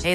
Hey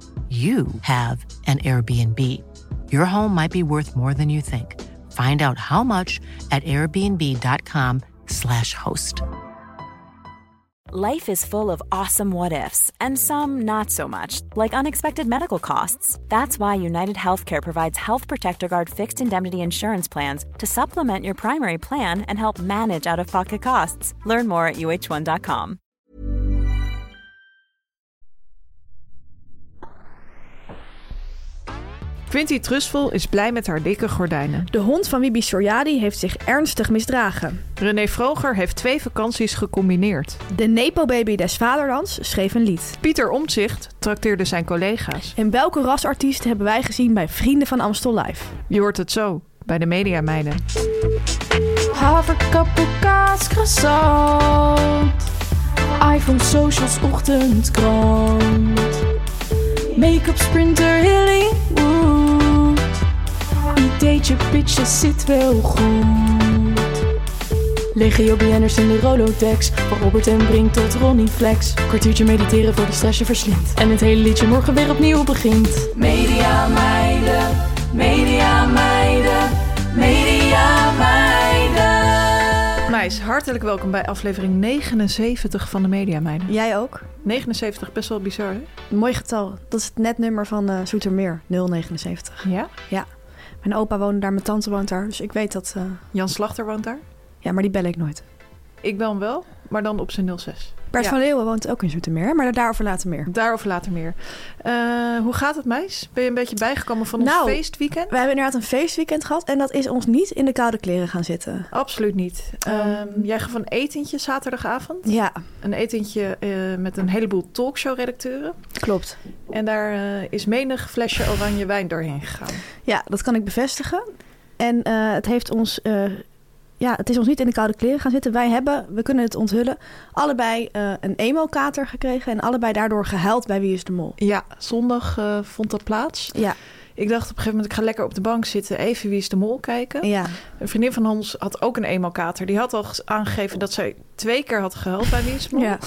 you have an Airbnb. Your home might be worth more than you think. Find out how much at airbnb.com/slash host. Life is full of awesome what ifs, and some not so much, like unexpected medical costs. That's why United Healthcare provides Health Protector Guard fixed indemnity insurance plans to supplement your primary plan and help manage out of pocket costs. Learn more at uh1.com. Quinty Trustful is blij met haar dikke gordijnen. De hond van Wibi Soriadi heeft zich ernstig misdragen. René Vroger heeft twee vakanties gecombineerd. De Nepo-baby des vaderlands schreef een lied. Pieter Omtzigt trakteerde zijn collega's. En welke rasartiest hebben wij gezien bij Vrienden van Amstel Live? Je hoort het zo bij de Media Meiden. Haverkappel, kaas, croissant. iPhone, socials, ochtendkrant. Make-up, sprinter, Hollywood. Ideetje, pitjes, zit wel goed. Legio BN'ers in de Rolodex. Van Robert en Brink tot Ronnie Flex. Kwartiertje mediteren voor de stress je verslindt. En het hele liedje morgen weer opnieuw begint. Media meiden, media meiden, media meiden. Meis, hartelijk welkom bij aflevering 79 van de Media Meiden. Jij ook? 79, best wel bizar hè? Mooi getal. Dat is het netnummer van eh, Zoetermeer, 079. Ja? Ja. Mijn opa woonde daar, mijn tante woont daar, dus ik weet dat... eh, Jan Slachter woont daar. ja, maar die bel ik nooit. Ik bel hem wel, maar dan op zijn 06. Bert Ja. van Leeuwen woont ook in Zoetermeer, hè, maar daarover later meer. Daarover later meer. Eh, hoe gaat het meis? Ben je een beetje bijgekomen van ons Nou. feestweekend? We hebben inderdaad een feestweekend gehad en dat is ons niet in de koude kleren gaan zitten. Absoluut niet. Ehm, jij gaf een etentje zaterdagavond. Ja, Een etentje eh, met een heleboel talkshow-redacteuren. klopt. En daar eh, is menig flesje oranje wijn doorheen gegaan. Ja, dat kan ik bevestigen. En eh, het heeft ons. eh, ja, het is ons niet in de koude kleren gaan zitten. Wij hebben, we kunnen het onthullen, allebei eh, een emo-kater gekregen. En allebei daardoor gehuild bij Wie is de Mol. Ja, zondag eh, vond dat plaats. Ja, Ik dacht op een gegeven moment, ik ga lekker op de bank zitten. Even Wie is de Mol kijken. ja. Een vriendin van ons had ook een emo-kater. Die had al ges- aangegeven dat zij twee keer had gehuild bij Wie is de Mol. Ja.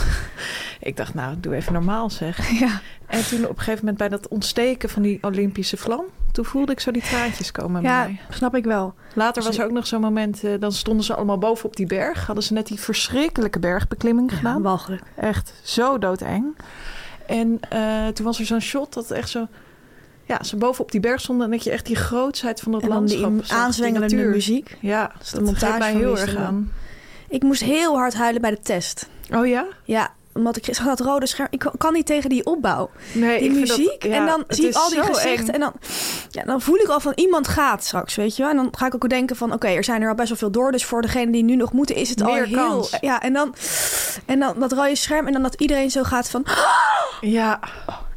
Ik dacht, nou, doe even normaal zeg. ja. En toen op een gegeven moment bij dat ontsteken van die Olympische vlam... toen voelde ik zo die traantjes komen bij ja mij. snap ik wel. Later was er ook nog zo'n moment, eh, dan stonden ze allemaal boven op die berg. Hadden ze net die verschrikkelijke bergbeklimming gedaan. Walgelijk. Echt zo doodeng. En eh, toen was er zo'n shot dat echt zo... Ja, ze boven op die berg stonden en dat je echt die grootsheid van dat En dan die landschap im- zag, aanzwengelende natuur. muziek. Ja, is de dat montage geeft mij van heel Wie is erg de Mol. aan. Ik moest heel hard huilen bij de test. Oh ja? Ja, omdat ik zag dat rode scherm. Ik kan niet tegen die opbouw. Nee, die Eh, ik vind dat- muziek. ja, en dan het zie ik is al die zo gezichten. eng. En dan, ja, dan voel ik al van iemand gaat straks, weet je wel. En dan ga ik ook denken van, oké, er zijn er al best wel veel door. Dus voor degene die nu nog moeten, is het al Meer heel... kans. Ja, en dan, en dan dat rode scherm. En dan dat iedereen zo gaat van... Ja,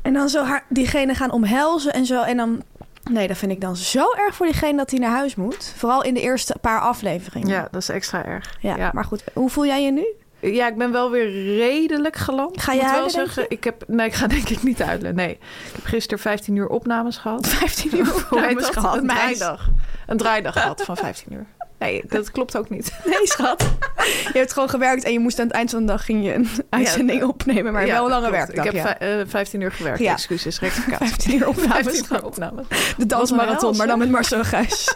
En dan zo haar, diegene gaan omhelzen en zo. En dan... Nee, dat vind ik dan zo erg voor diegene dat hij naar huis moet. Vooral in de eerste paar afleveringen. ja, dat is extra erg. Ja, Maar goed, hoe voel jij je nu? Ja, ik ben wel weer redelijk geland. Ga Ik je moet wel huilen, denk zeggen, ik heb. Nee, ik ga denk ik niet huilen. Nee. Ik heb gisteren 15 uur opnames gehad. 15 uur Hoe heet dat? gehad. Een meis. draaidag. Een draaidag gehad van 15 uur. Nee, dat klopt ook niet. Nee, schat. Je hebt gewoon gewerkt en je moest aan het eind van de dag ging je een uitzending opnemen. Maar Ja, wel een lange klopt. werkdag. Ik heb ja. vij- eh, 15 uur gewerkt. Ja. Excuses, rectificatie. 15 uur opnames 15 uur gehad. opnames. De Wat een hel, dansmarathon, maar dan zeg. met Marcel Gijs.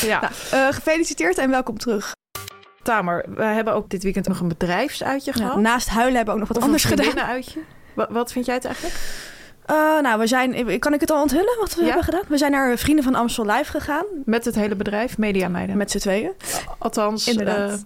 Ja. Nou, eh, gefeliciteerd en welkom terug. Tamer, we hebben ook dit weekend nog een bedrijfsuitje Ja, gehad. naast huilen hebben we ook nog wat Of anders een gedaan. vriendinnen-uitje. Wa- Wat, vind jij het eigenlijk? Eh, nou, we zijn, kan ik het al onthullen wat we Ja. hebben gedaan? We zijn naar Vrienden van Amstel Live gegaan, Met het hele bedrijf, Media Meiden. met z'n tweeën. Althans, Inderdaad. eh,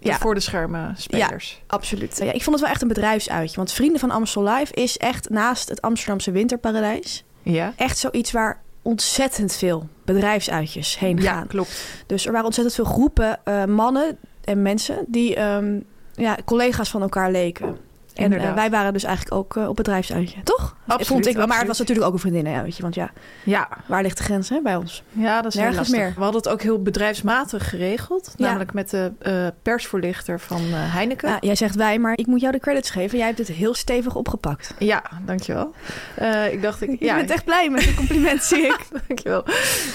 Ja. voor de schermen spelers. Absoluut. Ja, ik vond het wel echt een bedrijfsuitje, want Vrienden van Amstel Live is echt naast het Amsterdamse winterparadijs Ja, echt zoiets waar ontzettend veel bedrijfsuitjes heen ja gaan. klopt. Dus er waren ontzettend veel groepen eh, mannen en mensen die ehm, ja, collega's van elkaar leken. En Inderdaad. eh, wij waren dus eigenlijk ook eh, op bedrijfsuitje, toch? Absoluut, Vond ik wel, maar het absoluut. was natuurlijk ook een vriendin, ja, weet je. Want ja, Ja, waar ligt de grens hè, bij ons? ja dat is heel Nergens lastig. meer. We hadden het ook heel bedrijfsmatig geregeld. Ja. Namelijk met de eh, persvoorlichter van eh, Heineken. Ja, Ah, jij zegt wij, maar ik moet jou de credits geven. Jij hebt het heel stevig opgepakt. Ja, dankjewel. Eh ik dacht, ik, Ik ja, ben echt blij met het compliment, zie ik. dankjewel.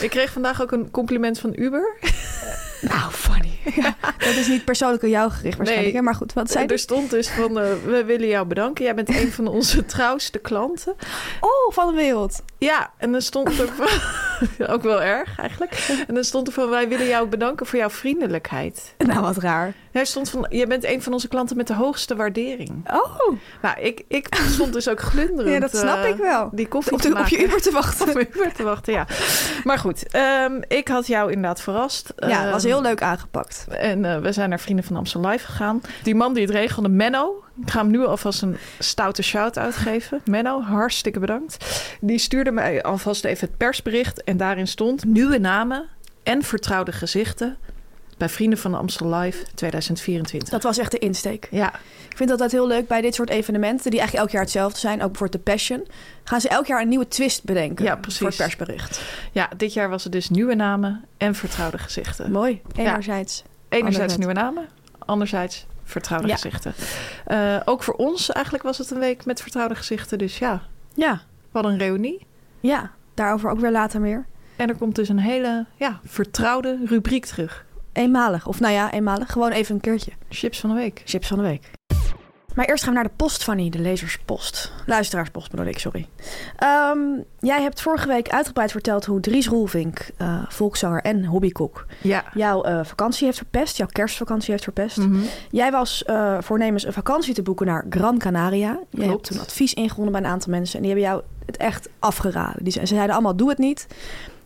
Ik kreeg vandaag ook een compliment van Uber. nou, funny. dat is niet persoonlijk aan jou gericht waarschijnlijk, Nee. hè? maar goed. Wat zei er dus? stond dus van, eh, we willen jou bedanken. Jij bent een van onze trouwste klanten. Oh, van de wereld. Ja, en dan stond er van, ook wel erg eigenlijk. En dan stond er van, wij willen jou bedanken voor jouw vriendelijkheid. Nou, wat raar. En Hij stond van, jij bent een van onze klanten met de hoogste waardering. Oh, Nou, ik, ik stond dus ook glunderend. ja, dat snap eh, ik wel. Die koffie Op, te de, op je maken. Uber te Om wachten. Uber te wachten, ja. Maar goed, ehm, ik had jou inderdaad verrast. Ja, Ehm, was heel leuk aangepakt. En eh, we zijn naar Vrienden van Amstel Live gegaan. Die man die het regelde, Menno. Ik ga hem nu alvast een stoute shout-out geven. Menno, hartstikke bedankt. Die stuurde mij alvast even het persbericht. En daarin stond nieuwe namen en vertrouwde gezichten bij Vrienden van Amstel Live 2024. Dat was echt de insteek. Ja, Ik vind dat dat heel leuk bij dit soort evenementen, die eigenlijk elk jaar hetzelfde zijn, ook bijvoorbeeld de Passion, gaan ze elk jaar een nieuwe twist bedenken Ja, precies. voor het persbericht. ja, dit jaar was het dus nieuwe namen en vertrouwde gezichten. Mooi, enerzijds. Enerzijds Anderzijds. nieuwe namen, anderzijds vertrouwde Ja. gezichten. Eh, ook voor ons eigenlijk was het een week met vertrouwde gezichten. Dus ja, Ja, we hadden een reunie. ja, daarover ook weer later meer. En er komt dus een hele ja, vertrouwde rubriek terug. Eenmalig, of nou ja, eenmalig, gewoon even een keertje. Chips van de week. Chips van de week. Maar eerst gaan we naar de post, Fanny, de lezerspost. Luisteraarspost bedoel ik, sorry. Ehm, jij hebt vorige week uitgebreid verteld hoe Dries Roelvink, eh, volkszanger en hobbykok, Ja. jouw eh, vakantie heeft verpest, jouw kerstvakantie heeft verpest. Mhm. Jij was eh, voornemens een vakantie te boeken naar Gran Canaria. Je Klopt. hebt toen advies ingewonnen bij een aantal mensen. En die hebben jou het echt afgeraden. Die ze, ze zeiden allemaal, doe het niet.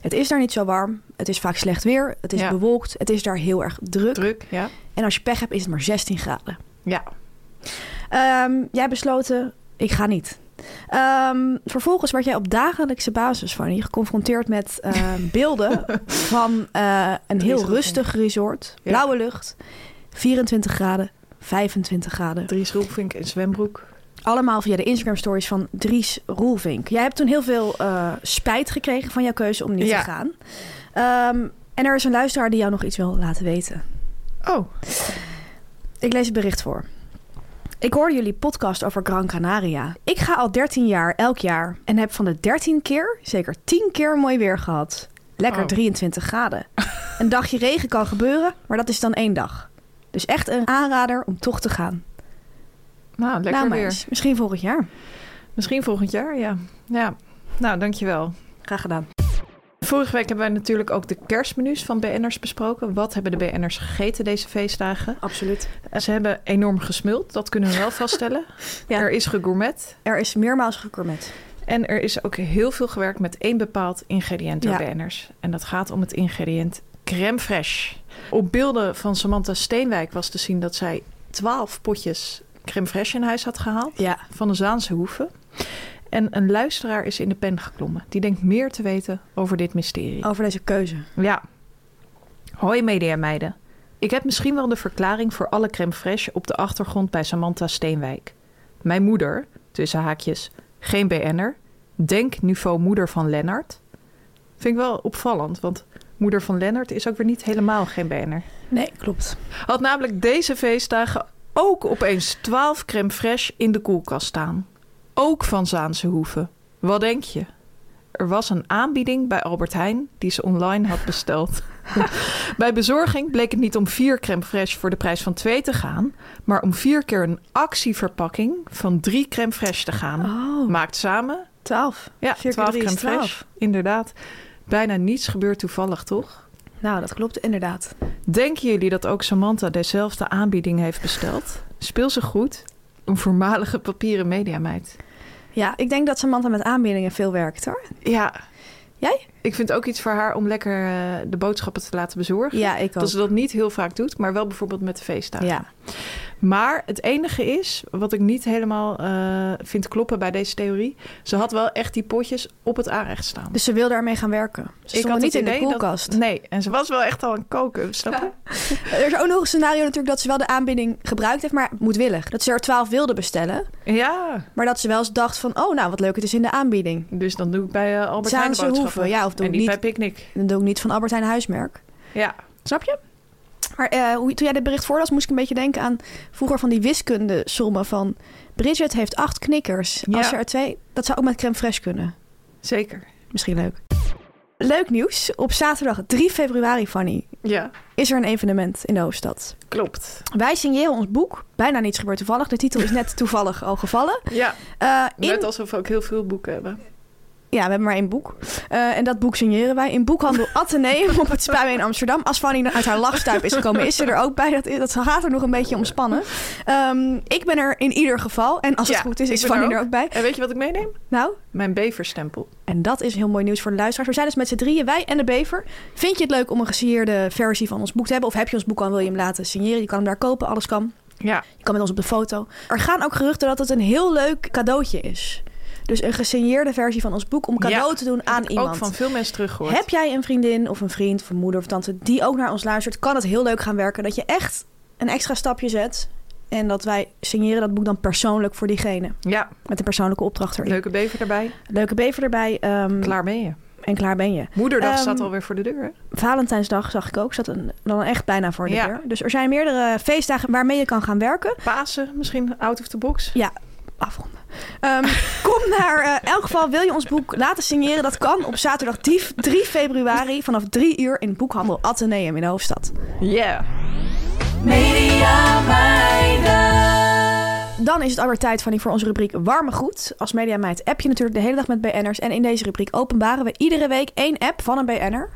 Het is daar niet zo warm. Het is vaak slecht weer. Het is Ja. bewolkt. Het is daar heel erg druk. Druk, ja. En als je pech hebt, is het maar 16 graden. Ja. Ehm, jij besloten, ik ga niet. Ehm, vervolgens werd jij op dagelijkse basis van je geconfronteerd met eh, beelden van eh, een Drie heel zonnige. rustig resort. Ja. Blauwe lucht, 24 graden, 25 graden. Dries Roelvink in zwembroek. Allemaal via de Instagram stories van Dries Roelvink. Jij hebt toen heel veel eh, spijt gekregen van jouw keuze om niet Ja. te gaan. Ehm, en er is een luisteraar die jou nog iets wil laten weten. Oh. Ik lees het bericht voor. Ik hoorde jullie podcast over Gran Canaria. Ik ga al 13 jaar elk jaar en heb van de 13 keer zeker 10 keer mooi weer gehad. Lekker Oh. 23 graden. Een dagje regen kan gebeuren, maar dat is dan één dag. Dus echt een aanrader om toch te gaan. Nou, lekker Nou, maar weer. eens. Misschien volgend jaar. Misschien volgend jaar, ja. Ja. Nou, dankjewel. Graag gedaan. Vorige week hebben wij natuurlijk ook de kerstmenu's van BN'ers besproken. Wat hebben de BN'ers gegeten deze feestdagen? Absoluut. En Ze hebben enorm gesmuld, dat kunnen we wel vaststellen. Ja. Er is gegourmet. Er is meermaals gegourmet. En er is ook heel veel gewerkt met één bepaald ingrediënt door Ja. BN'ers. En dat gaat om het ingrediënt crème fraîche. Op beelden van Samantha Steenwijk was te zien dat zij twaalf potjes crème fraîche in huis had gehaald. Ja. Van de Zaanse hoeven. En een luisteraar is in de pen geklommen. Die denkt meer te weten over dit mysterie. Over deze keuze. Ja. Hoi mediameiden. Ik heb misschien wel de verklaring voor alle crème fraîche op de achtergrond bij Samantha Steenwijk. Mijn moeder, tussen haakjes, geen BN'er, denk niveau moeder van Lennart. Vind ik wel opvallend, want moeder van Lennart is ook weer niet helemaal geen BN'er. Nee, klopt. Had namelijk deze feestdagen ook opeens 12 crème fraîche in de koelkast staan. Ook van Zaanse Hoeven. Wat denk je? Er was een aanbieding bij Albert Heijn die ze online had besteld. bij bezorging bleek het niet om vier crème fraîche voor de prijs van twee te gaan, maar om vier keer een actieverpakking van drie crème fraîche te gaan. Oh, Maakt samen, 12. ja, Vier keer 12 drie is crème fraîche. 12. Inderdaad. Bijna niets gebeurt toevallig, toch? Nou, dat klopt inderdaad. Denken jullie dat ook Samantha dezelfde aanbieding heeft besteld? Speel ze goed? Een voormalige papieren mediameid. Ja, ik denk dat Samantha met aanbiedingen veel werkt hoor. Ja. Jij? Ik vind het ook iets voor haar om lekker eh, de boodschappen te laten bezorgen. Ja, ik ook. Dat ze dat niet heel vaak doet, maar wel bijvoorbeeld met de feestdagen. Ja. Maar het enige is, wat ik niet helemaal eh, vind kloppen bij deze theorie... ze had wel echt die potjes op het aanrecht staan. Dus ze wil daarmee gaan werken. Ze had stond niet het in de idee dat- koelkast. nee, en ze was wel echt al aan het koken, snap je? Er is ook nog een scenario natuurlijk dat ze wel de aanbieding gebruikt heeft, maar moedwillig. Dat ze er 12 wilde bestellen, Ja, maar dat ze wel eens dacht van... oh, nou, wat leuk, het is in de aanbieding. dus dan doe ik bij eh, Albert Heijn de Zaanse boodschappen. hoeven, ja, of doe en ik niet niet. bij Picnic. Dan doe ik niet van Albert Heijn huismerk. Ja, Snap je? Maar eh, hoe, toen jij dit bericht voorlas, moest ik een beetje denken aan vroeger van die wiskunde sommen van... Bridget heeft acht knikkers. Ja. Als ze er twee... Dat zou ook met crème fraîche kunnen. zeker. Misschien leuk. Leuk nieuws. Op zaterdag 3 februari, Fanny, Ja, is er een evenement in de hoofdstad. klopt. Wij signeren ons boek. Bijna niets gebeurt toevallig. De titel is net toevallig al gevallen. Ja, Eh, in... net alsof we ook heel veel boeken hebben. Ja, we hebben maar één boek. Eh, en dat boek signeren wij in boekhandel Atheneum op het Spuien in Amsterdam. Als Fanny uit haar lachstuip is gekomen, is ze er ook bij. Dat, dat gaat er nog een beetje omspannen. Ehm, ik ben er in ieder geval. En als Ja, het goed is, ik is ben er Fanny ook. er ook bij. En weet je wat ik meeneem? Nou, Mijn beverstempel. en dat is heel mooi nieuws voor de luisteraars. We zijn dus met z'n drieën, wij en de bever. Vind je het leuk om een gesierde versie van ons boek te hebben? Of heb je ons boek al, wil je hem laten signeren? Je kan hem daar kopen, alles kan. Ja, Je kan met ons op de foto. Er gaan ook geruchten dat het een heel leuk cadeautje is. Dus een gesigneerde versie van ons boek om cadeau Ja, te doen aan iemand. ook van veel mensen teruggehoord. Heb jij een vriendin of een vriend of een moeder of tante die ook naar ons luistert, kan het heel leuk gaan werken dat je echt een extra stapje zet en dat wij signeren dat boek dan persoonlijk voor diegene Ja, met een persoonlijke opdracht erin. leuke bever erbij. Leuke bever erbij ehm, Klaar ben je. en klaar ben je. Moederdag Ehm, staat alweer voor de deur. hè? Valentijnsdag zag ik ook, zat een, dan echt bijna voor de Ja. deur. Dus er zijn meerdere feestdagen waarmee je kan gaan werken. Pasen, misschien out of the box. afronden. Ehm, kom naar, eh, in elk geval wil je ons boek laten signeren. Dat kan op zaterdag 3, 3 februari vanaf 3 uur in boekhandel Atheneum in de hoofdstad. Yeah. Dan is het alweer tijd van die voor onze rubriek Warme Goed. Als mediameid app je natuurlijk de hele dag met BN'ers. En in deze rubriek openbaren we iedere week één app van een BN'er.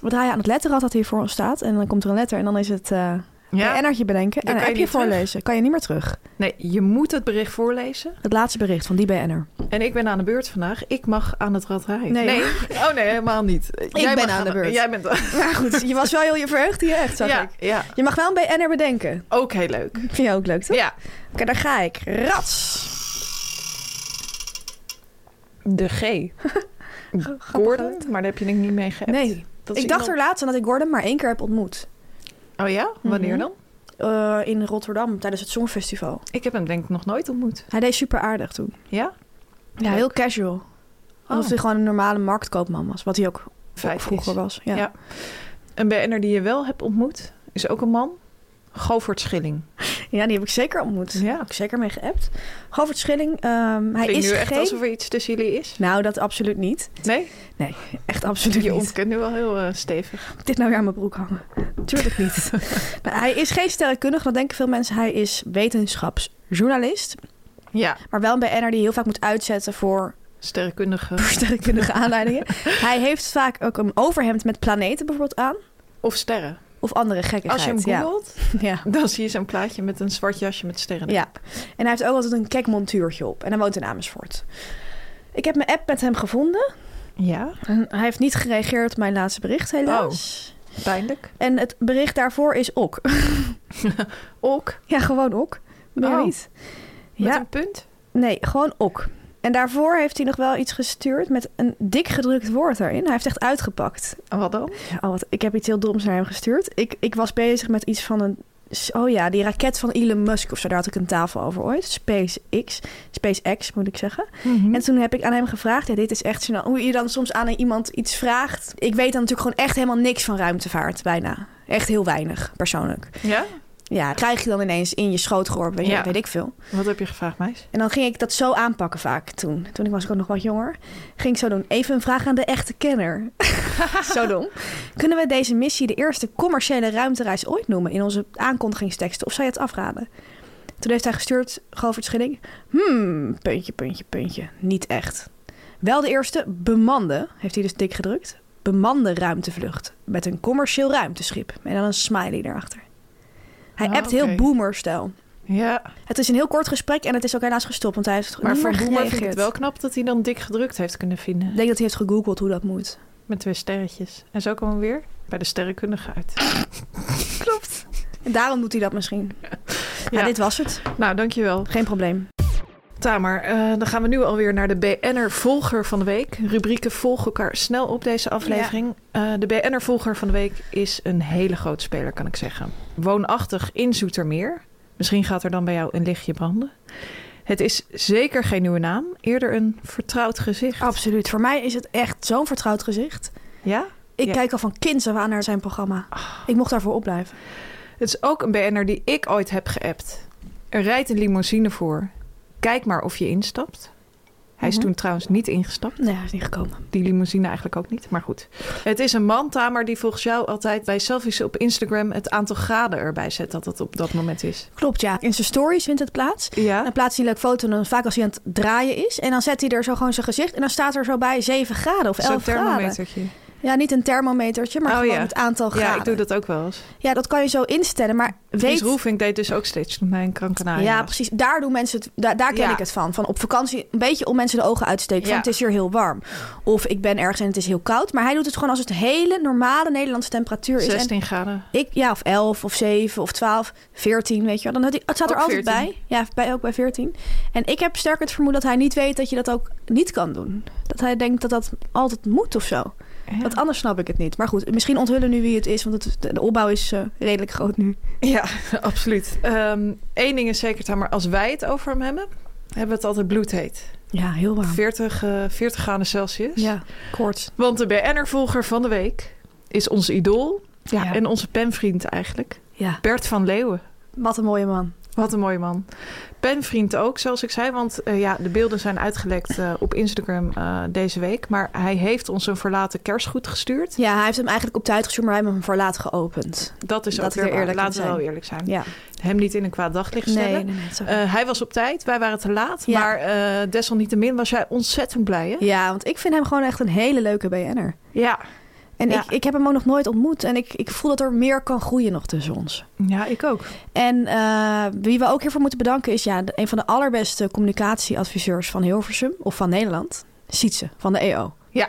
We draaien aan het letterrad dat hier voor ons staat. En dan komt er een letter en dan is het eh Ja. BN'ertje bedenken. Dan en een kan je appje niet terug. voorlezen. Kan je niet meer terug. Nee, je moet het bericht voorlezen. Het laatste bericht van die BN'er. En ik ben aan de beurt vandaag. Ik mag aan het rad rijden. Nee. Oh nee, helemaal niet. Ik ben aan de beurt. Jij bent... Maar goed, je was wel heel je verheugd hier echt, zag Ah, ja, ik. ja, Je mag wel een BN'er bedenken. ook heel leuk. Vind je ook leuk, toch? Ja. Oké, daar ga ik. Rats. De G. Gordon, maar daar heb je denk ik niet mee geappt. Nee. Dat is Ik dacht er iemand- laatst aan dat ik Gordon maar één keer heb ontmoet. Oh ja? Wanneer Mhm. dan? Eh, in Rotterdam tijdens het Songfestival. Ik heb hem denk ik nog nooit ontmoet. Hij deed super aardig toen. Ja? Ja, heel casual. Alsof Oh. hij gewoon een normale marktkoopman was. Wat hij ook Feit is. vroeger was. Ja. Ja. Een BN'er die je wel hebt ontmoet, is ook een man. Govert Schilling. Ja, die heb ik zeker ontmoet. Ja. Heb ik zeker mee geappt. Govert Schilling, ehm, hij Klinkt is nu echt geen... alsof er iets tussen jullie is. Nou, dat absoluut niet. Nee? Echt absoluut Je niet. ontkent nu wel heel eh, stevig. Dit nou weer aan mijn broek hangen. Tuurlijk niet. Nou, hij is geen sterrenkundige, dat denken veel mensen. Hij is wetenschapsjournalist. Ja, Maar wel een BN'er die heel vaak moet uitzetten voor sterrenkundige. sterrenkundige aanleidingen. hij heeft vaak ook een overhemd met planeten bijvoorbeeld aan. Of sterren. Of andere gekkigheid. Als je hem googelt, ja. ja. dan zie je zo'n plaatje met een zwart jasje met sterren. Ja, en hij heeft ook altijd een kek montuurtje op. En hij woont in Amersfoort. Ik heb mijn app met hem gevonden. ja? En hij heeft niet gereageerd op mijn laatste bericht, helaas. pijnlijk. Oh. En het bericht daarvoor is ook. Ook, ja, gewoon ook. Meer Oh. niet. met Ja, een punt. nee, gewoon ook. En daarvoor heeft hij nog wel iets gestuurd met een dik gedrukt woord erin. Hij heeft echt uitgepakt. En wat dan? Oh, wat, ik heb iets heel doms naar hem gestuurd. Ik, ik was bezig met iets van een... Oh ja, die raket van Elon Musk of zo. Daar had ik een tafel over ooit. SpaceX. SpaceX moet ik zeggen. Mhm. En toen heb ik aan hem gevraagd, ja, dit is echt zo, hoe je dan soms aan iemand iets vraagt. Ik weet dan natuurlijk gewoon echt helemaal niks van ruimtevaart, bijna. Echt heel weinig, persoonlijk. Ja? Ja, krijg je dan ineens in je schoot geworpen, weet, je, Ja. weet ik veel. Wat heb je gevraagd, meis? En dan ging ik dat zo aanpakken vaak toen. Toen ik was ik ook nog wat jonger. Ging ik zo doen, even een vraag aan de echte kenner. zo dom. Kunnen we deze missie de eerste commerciële ruimtereis ooit noemen in onze aankondigingsteksten? Of zou je het afraden? Toen heeft hij gestuurd, Govert Schilling. Hmm, puntje, puntje, puntje. Niet echt. Wel de eerste bemande, heeft hij dus dik gedrukt. Bemande ruimtevlucht met een commercieel ruimteschip. En dan een smiley erachter. Hij Ah, appt oké. heel boomer-stijl. Ja, Het is een heel kort gesprek en het is ook helaas gestopt, want hij heeft maar niet voor meer Boemer vind ik het gereageerd. wel knap dat hij dan dik gedrukt heeft kunnen vinden. Ik denk dat hij heeft gegoogeld hoe dat moet. met twee sterretjes. En zo komen we weer bij de sterrenkundige uit. Klopt. En daarom doet hij dat misschien. Ja. Nou, dit was het. Nou, dankjewel. Geen probleem. Tamer, eh, dan gaan we nu alweer naar de BN'er Volger van de Week. Rubrieken volgen elkaar snel op deze aflevering. Eh, de BN'er Volger van de Week is een hele grote speler, kan ik zeggen. Woonachtig in Zoetermeer. Misschien gaat er dan bij jou een lichtje branden. Het is zeker geen nieuwe naam, eerder een vertrouwd gezicht. Absoluut. Voor mij is het echt zo'n vertrouwd gezicht. Ja? Ik Ja. kijk al van kinds af aan naar zijn programma. Ik mocht daarvoor opblijven. Het is ook een BN'er die ik ooit heb geappt. Er rijdt een limousine voor. Kijk maar of je instapt. Hij is Mhm. toen trouwens niet ingestapt. Nee, hij is niet gekomen. Die limousine eigenlijk ook niet, maar goed. Het is een man, Tamer, die volgens jou altijd bij selfies op Instagram het aantal graden erbij zet dat het op dat moment is. Klopt, ja. In zijn stories vindt het plaats. Ja. Dan plaatst hij een leuk foto en dan vaak als hij aan het draaien is. En dan zet hij er zo gewoon zijn gezicht. En dan staat er zo bij 7 graden of 11 Zo'n graden. thermometertje. Ja, niet een thermometertje, maar Oh, gewoon ja. het aantal graden. Ja, ik doe dat ook wel eens. Ja, dat kan je zo instellen. Maar Weet... weet... Roefing deed dus ook steeds toen hij een krankenaar ja, was. precies. Daar doen mensen het. Daar, daar ken Ja. ik het van. Van op vakantie een beetje om mensen de ogen uit te steken. Van Ja. het is hier heel warm. Of ik ben ergens en het is heel koud. Maar hij doet het gewoon als het hele normale Nederlandse temperatuur is. En 16 graden. ik, ja, of 11 of 7 of 12, 14, weet je wel. Dan had hij, het staat er Ook altijd 14. bij. Ja, bij, ook bij 14. En ik heb sterk het vermoeden dat hij niet weet dat je dat ook niet kan doen. Dat hij denkt dat dat altijd moet of zo. Want anders snap ik het niet. Maar goed, misschien onthullen we nu wie het is, want het, de, de opbouw is eh, redelijk groot nu. Ja, absoluut. Eén ding is zeker, Tamer, als wij het over hem hebben, hebben we het altijd bloedheet. Ja, heel warm. 40, eh, 40 graden Celsius. Oh. Ja, koorts. Want de BN'er-volger van de week is ons idool Ja. en onze penvriend eigenlijk. Ja, Bert van Leeuwen. wat een mooie man. Wat een mooie man. Penvriend ook, zoals ik zei. Want eh, ja, de beelden zijn uitgelekt eh, op Instagram eh, deze week. Maar hij heeft ons een verlaten kerstgoed gestuurd. Ja, hij heeft hem eigenlijk op tijd gestuurd, maar hij heeft hem voor laat geopend. Dat is Dat ook we weer er eerlijk eerlijk in Laten we wel zijn. eerlijk zijn. Ja, Hem niet in een kwaad daglicht stellen. nee, nee, nee, het is ook- Eh, hij was op tijd, wij waren te laat. Ja. Maar eh, desalniettemin was jij ontzettend blij, hè? ja, want ik vind hem gewoon echt een hele leuke BN'er. Ja. En Ja. ik, ik heb hem ook nog nooit ontmoet. En ik, ik voel dat er meer kan groeien nog tussen ons. Ja, ik ook. En eh, wie we ook hiervoor moeten bedanken is ja, de- een van de allerbeste communicatieadviseurs van Hilversum. Of van Nederland. Sietse van de EO. Ja.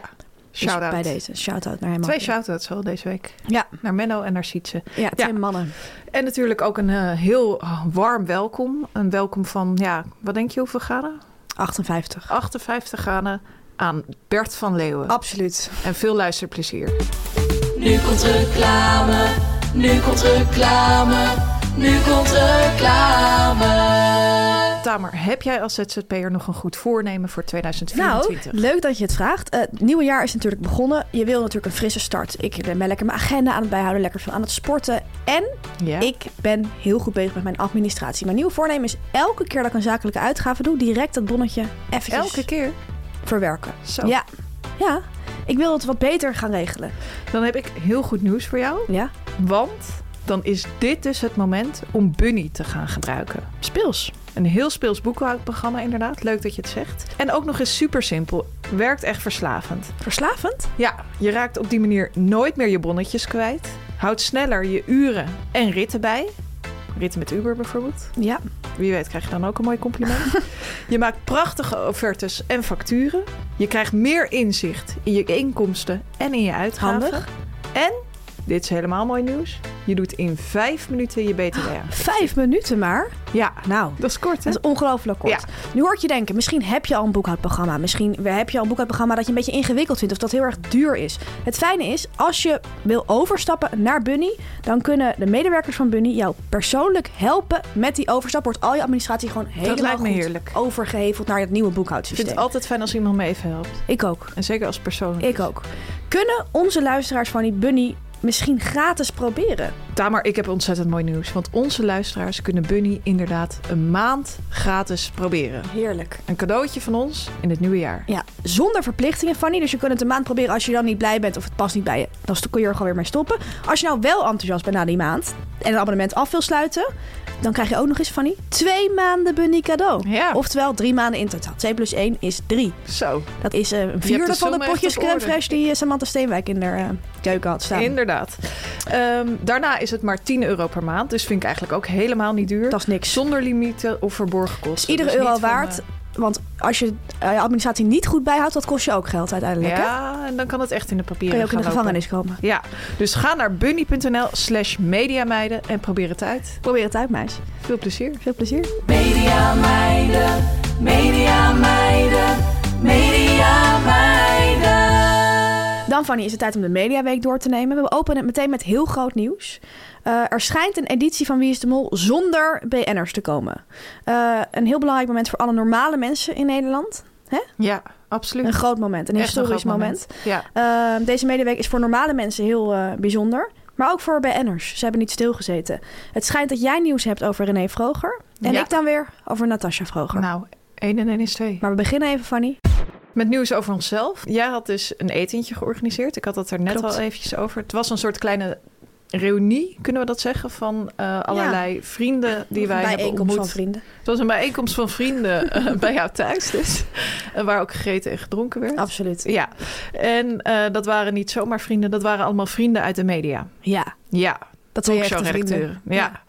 Dus Shout-out. bij deze. Shout-out naar hem. Twee ook. shout-outs al deze week. Ja. Naar Menno en naar Sietse. Ja, twee mannen. En natuurlijk ook een eh, heel warm welkom. Een welkom van, ja, wat denk je hoeveel graden? 58. 58 graden aan Bert van Leeuwen. Absoluut. En veel luisterplezier. Nu komt reclame, nu komt reclame, nu komt reclame. Tamer, heb jij als ZZP'er nog een goed voornemen voor 2024? Nou, leuk dat je het vraagt. Eh, het nieuwe jaar is natuurlijk begonnen. Je wil natuurlijk een frisse start. Ik ben lekker mijn agenda aan het bijhouden, lekker veel aan het sporten. En ja? ik ben heel goed bezig met mijn administratie. Mijn nieuwe voornemen is elke keer dat ik een zakelijke uitgave doe, direct dat bonnetje eventjes Elke keer? verwerken. Zo. Ja. ja, ik wil het wat beter gaan regelen. Dan heb ik heel goed nieuws voor jou. Ja, Want dan is dit dus het moment om Bunny te gaan gebruiken. speels. Een heel speels boekhoudprogramma inderdaad. Leuk dat je het zegt. En ook nog eens super simpel. Werkt echt verslavend. Verslavend? Ja, je raakt op die manier nooit meer je bonnetjes kwijt. Houdt sneller je uren en ritten bij. Ritten met Uber bijvoorbeeld. Ja, Wie weet krijg je dan ook een mooi compliment. je maakt prachtige offertes en facturen. Je krijgt meer inzicht in je inkomsten en in je uitgaven. Handig. En, dit is helemaal mooi nieuws, je doet in vijf minuten je BTW aan. vijf minuten maar. Ja, Ah. Nou, dat is kort hè? Dat is ongelooflijk kort. Nu hoort je denken, misschien heb je al een boekhoudprogramma. Misschien heb je al een boekhoudprogramma dat je een beetje ingewikkeld vindt of dat heel erg duur is. Het fijne is, als je wil overstappen naar Bunny, dan kunnen de medewerkers van Bunny jou persoonlijk helpen met die overstap. Wordt al je administratie gewoon helemaal lijkt me goed heerlijk. overgeheveld naar het nieuwe Ik vind boekhoudsysteem. het altijd fijn als iemand me even helpt. Ik ook. En zeker als persoon. Ik ook. Kunnen onze luisteraars van die Bunny misschien gratis proberen? Tamar, ik heb ontzettend mooi nieuws. Want onze luisteraars kunnen Bunny inderdaad een maand gratis proberen. Heerlijk. Een cadeautje van ons in het nieuwe jaar. Ja, zonder verplichtingen, Fanny. Dus je kunt het een maand proberen. Als je dan niet blij bent of het past niet bij je, dan kun je er gewoon weer mee stoppen. Als je nou wel enthousiast bent na die maand en een abonnement af wil sluiten, dan krijg je ook nog eens, Fanny, twee maanden Bunny cadeau. Ja. Oftewel drie maanden in totaal. 2 plus 1 is 3. Zo, Dat is eh, een hebt de vierde van de som echt potjes op crème orde. fraîche die eh, Samantha Steenwijk in haar eh, keuken had staan. inderdaad. Ehm, daarna is het maar 10 euro per maand. Dus vind ik eigenlijk ook helemaal niet duur. Dat is niks. Zonder limieten of verborgen kosten. Iedere Dus niet euro van, waard. eh, Want als je eh, je administratie niet goed bijhoudt, dat kost je ook geld uiteindelijk. hè? Ja, en dan kan het echt in de papieren Kun je ook in gaan de lopen. gevangenis komen. Ja, dus ga naar bunny.nl slash mediameiden en probeer het uit. Probeer het uit, meis. Veel plezier. Veel plezier. Media meiden, media meiden, media meiden. Dan, Fanny, is het tijd om de Mediaweek door te nemen. We openen het meteen met heel groot nieuws. Eh, er schijnt een editie van Wie is de Mol zonder BN'ers te komen. Eh, een heel belangrijk moment voor alle normale mensen in Nederland. Ja, absoluut. Een groot moment, een Echt een historisch groot moment. Ja, Eh, deze Mediaweek is voor normale mensen heel eh, bijzonder. Maar ook voor BN'ers. Ze hebben niet stilgezeten. Het schijnt dat jij nieuws hebt over René Vroger. En Ja. ik dan weer over Natasja Vroger. nou, 1 en 1 is 2. Maar we beginnen even, Fanny. Met nieuws over onszelf. Jij had dus een etentje georganiseerd. Ik had het er net Klopt. al eventjes over. Het was een soort kleine reunie, kunnen we dat zeggen, van eh, allerlei vrienden die wij hebben Bijeenkomst ontmoet. van vrienden. Het was een bijeenkomst van vrienden eh, bij jou thuis dus. En waar ook gegeten en gedronken werd. Absoluut. Ja, en eh, dat waren niet zomaar vrienden, dat waren allemaal vrienden uit de media. Ja, Ja, dat zijn je echte vrienden. redacteuren. Ja.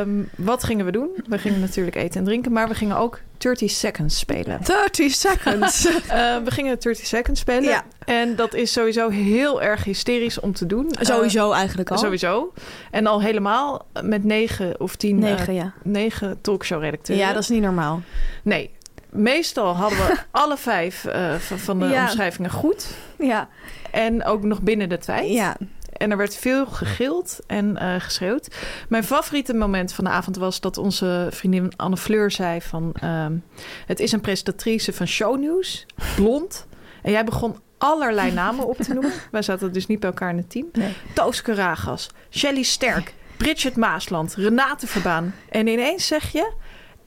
Ehm, wat gingen we doen? We gingen natuurlijk eten en drinken, maar we gingen ook 30 Seconds spelen. 30 seconds. Eh, we gingen 30 Seconds spelen. Ja. En dat is sowieso heel erg hysterisch om te doen. Eh, Sowieso eigenlijk al. sowieso. En al helemaal met negen of tien, eh, Negen, ja. negen talkshow-redacteuren. Ja, dat is niet normaal. Nee, meestal hadden we alle vijf eh, van van de Ja. omschrijvingen goed. Ja, En ook nog binnen de tijd. ja. En er werd veel gegild en eh, geschreeuwd. Mijn favoriete moment van de avond was dat onze vriendin Anne Fleur zei van... ehm, het is een presentatrice van shownieuws, blond. En jij begon allerlei namen op te noemen. Wij zaten dus niet bij elkaar in het team. Nee. Toos Karagas, Shelly Sterk, Bridget Maasland, Renate Verbaan. En ineens zeg je...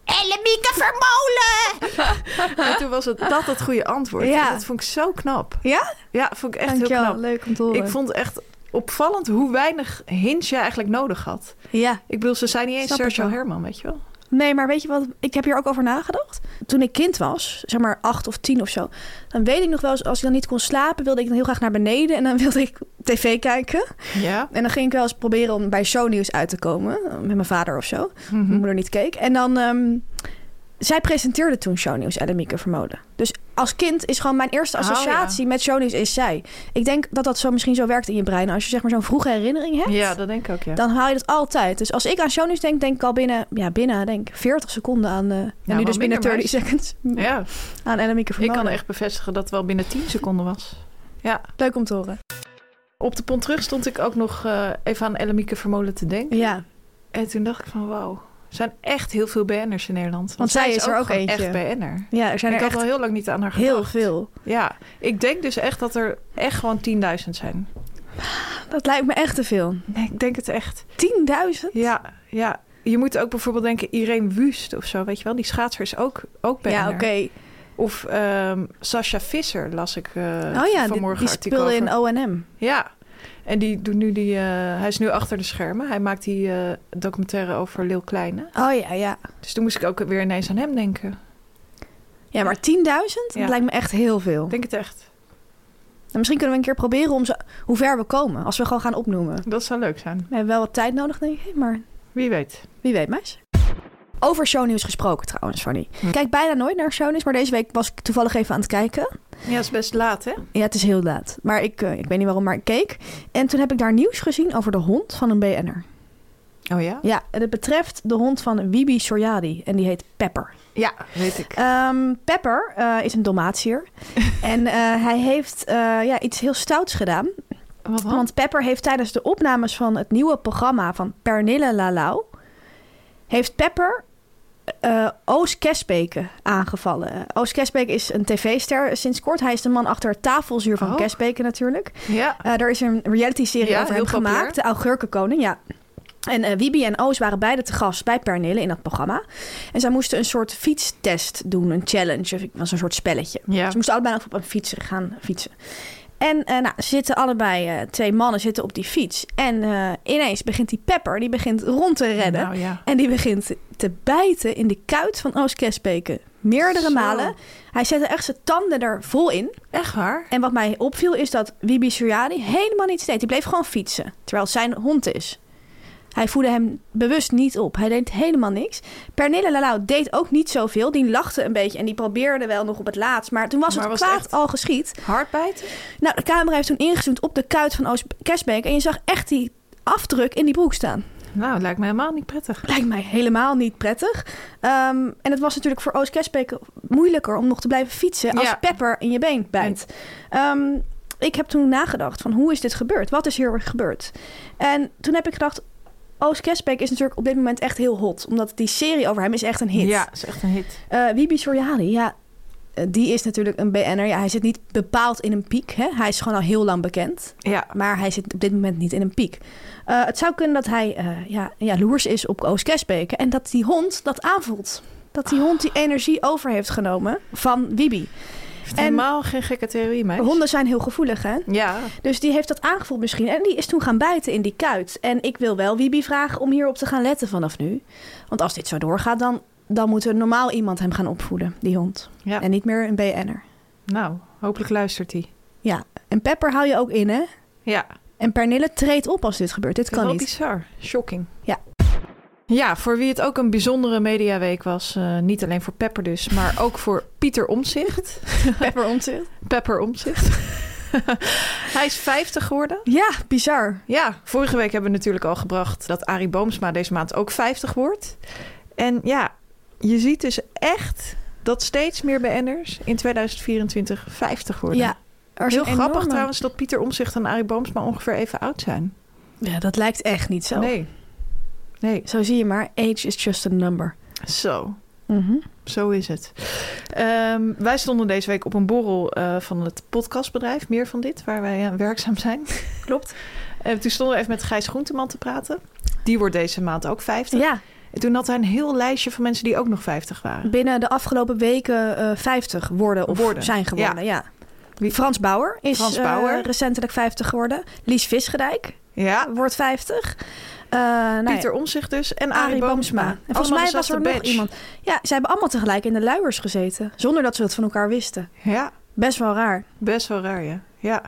Ellemieke Vermolen! en toen was het dat het goede antwoord. Ja. En Dat vond ik zo knap. Ja? Ja, vond ik echt heel Dankjewel. knap. Leuk om te horen. Ik vond echt opvallend hoe weinig hints jij eigenlijk nodig had. Ja. Ik bedoel, ze zijn niet eens Snap ik Sergio wel. Herman, weet je wel. Nee, maar weet je wat? Ik heb hier ook over nagedacht. Toen ik kind was, zeg maar acht of tien of zo, dan weet ik nog wel eens, als ik dan niet kon slapen, wilde ik dan heel graag naar beneden en dan wilde ik tv kijken. Ja. En dan ging ik wel eens proberen om bij shownieuws uit te komen, met mijn vader of zo. Mhm. Mijn Mm-hmm. moeder niet keek. En dan, ehm, zij presenteerde toen shownieuws, Annemieke Vermolen. Dus als kind is gewoon mijn eerste Oh, ja. associatie met shownieuws is zij. Ik denk dat dat zo misschien zo werkt in je brein. Als je zeg maar zo'n vroege herinnering hebt, ja, dat denk ik ook, ja. dan haal je dat altijd. Dus als ik aan shownieuws denk, denk ik al binnen, ja, binnen denk ik 40 seconden aan. eh en nu wel dus binnen minder, 30 seconds ja, aan Annemieke ik Vermolen. kan echt bevestigen dat het wel binnen 10 seconden was. Ja. Leuk om te horen. Op de pont terug stond ik ook nog eh, even aan Ellemieke Vermolen te denken. Ja, En toen dacht ik van, wauw, er zijn echt heel veel BN'ers in Nederland. Want, zij is er ook gewoon eentje. echt BN'er. ja er zijn ik er had echt al heel lang niet aan haar gedacht. heel veel. Ja, ik denk dus echt dat er echt gewoon 10.000 zijn. Dat lijkt me echt te veel. Nee, ik denk het echt. 10.000? Ja, ja. Je moet ook bijvoorbeeld denken Irene Wust of zo, weet je wel? Die schaatser is ook, ook BN'er. Ja, oké. Of ehm Sascha Visser las ik eh Oh ja, die, vanmorgen die artikel speelde over. in OM. Ja, en die doet nu die, eh, hij is nu achter de schermen. Hij maakt die eh, documentaire over Leeuw Kleine. Oh ja, ja. Dus toen moest ik ook weer ineens aan hem denken. Ja, maar 10.000? Ja. Dat lijkt me echt heel veel. Ik denk het echt. En misschien kunnen we een keer proberen om zo, hoe ver we komen. Als we gewoon gaan opnoemen. Dat zou leuk zijn. We hebben wel wat tijd nodig, denk ik. Maar Wie weet. Wie weet, meis. Over shownieuws gesproken trouwens, Fanny. Ik kijk bijna nooit naar shownieuws, maar deze week was ik toevallig even aan het kijken. Ja, is best laat, hè? Ja, het is heel laat. Maar ik, eh, ik weet niet waarom, maar ik keek. En toen heb ik daar nieuws gezien over de hond van een BN'er. Oh ja? Ja, en het betreft de hond van Wibi Soryadi. En die heet Pepper. Ja, weet ik. Ehm, Pepper eh, is een Dalmatier. en eh, hij heeft eh, ja, iets heel stouts gedaan. Wat dan? Want Pepper heeft tijdens de opnames van het nieuwe programma van Pernille Lalau... heeft Pepper eh Oos Kesbeke aangevallen. Oos Kesbeke is een tv-ster sinds kort. Hij is de man achter het tafelzuur van Oh. Kesbeke natuurlijk. Ja. Eh er is een reality-serie Ja, over heel hem populair. gemaakt, De Augurkenkoning, ja. En eh, Wibi en Oos waren beide te gast bij Pernille in dat programma. En zij moesten een soort fietstest doen, een challenge. of Het was een soort spelletje. Ja. Ze moesten allebei nog op een fiets gaan fietsen. En eh, nou, ze zitten allebei, eh, twee mannen zitten op die fiets. En eh, ineens begint die Pepper, die begint rond te redden. Nou ja. En die begint te bijten in de kuit van Oos Kesbeke. Meerdere Zo. malen. Hij zette echt zijn tanden er vol in. Echt waar? En wat mij opviel is dat Wibi Suryani helemaal niet steed. Die bleef gewoon fietsen, terwijl het zijn hond is. Hij voedde hem bewust niet op. Hij deed helemaal niks. Pernille Lalau deed ook niet zoveel. Die lachte een beetje en die probeerde wel nog op het laatst. Maar toen was Maar het was het kwaad echt- al geschied. Hardbijten? Nou, de camera heeft toen ingezoomd op de kuit van Oost Cashbank. En je zag echt die afdruk in die broek staan. Nou, lijkt me helemaal niet prettig. Lijkt mij helemaal niet prettig. Ehm, en het was natuurlijk voor Oost Cashbank moeilijker om nog te blijven fietsen als Ja. pepper in je been bijt. Ehm, ik heb toen nagedacht van hoe is dit gebeurd? Wat is hier gebeurd? En toen heb ik gedacht, Oost Cashbank is natuurlijk op dit moment echt heel hot. Omdat die serie over hem is echt een hit. Ja, is echt een hit. Eh, Wiebe Soriani, ja, eh, die is natuurlijk een BN'er. Ja, hij zit niet bepaald in een piek. Hè? Hij is gewoon al heel lang bekend. Ja. Maar hij zit op dit moment niet in een piek. Eh, het zou kunnen dat hij eh ja, jaloers is op Oost Kesbeke. En dat die hond dat aanvoelt. Dat die hond die energie over heeft genomen van Wibi. Heeft En- helemaal geen gekke theorie, meisje. Honden zijn heel gevoelig, hè? Ja. Dus die heeft dat aangevoeld misschien. En die is toen gaan bijten in die kuit. En ik wil wel Wibi vragen om hierop te gaan letten vanaf nu. Want als dit zo doorgaat, dan, dan moet er normaal iemand hem gaan opvoeden, die hond. ja. En niet meer een BN'er. Nou, hopelijk luistert hij. En Pepper hou je ook in, hè? Ja. En Pernille treedt op als dit gebeurt. Dit kan wel niet. bizar. Shocking. Ja. Ja, voor wie het ook een bijzondere mediaweek was. eh, niet alleen voor Pepper dus, maar ook voor Pieter Omzicht. Pepper omzet. Pepper Omzicht. Hij is 50 geworden. Ja, bizar. Ja, vorige week hebben we natuurlijk al gebracht dat Arie Boomsma deze maand ook 50 wordt. En ja, je ziet dus echt dat steeds meer BN'ers in 2024 50 worden. Ja, er is Heel een grappig enorme- trouwens dat Pieter Omzicht en Arie Boomsma ongeveer even oud zijn. Ja, dat lijkt echt niet zo. Nee. Nee, Zo zie je maar, age is just a number. zo. Mhm. Zo is het. Ehm, wij stonden deze week op een borrel eh, van het podcastbedrijf, meer van dit, waar wij eh, werkzaam zijn. Klopt. Eh, toen stonden we even met Gijs Groenteman te praten. Die wordt deze maand ook 50. Dus Ja, En toen had hij een heel lijstje van mensen die ook nog 50 waren. binnen de afgelopen weken eh 50 worden of Worden, zijn geworden. Ja. Wie- Frans Bauer is Frans eh, Bauer. recentelijk 50 geworden. Lies Visgedijk Ja, wordt 50. Eh, nou ja, Pieter Omzicht dus en Arie, Boomsma. En volgens mij was er nog iemand. Ja, ze hebben allemaal tegelijk in de luiers gezeten. Zonder dat ze het van elkaar wisten. Ja, Best wel raar. best wel raar, ja. Ja,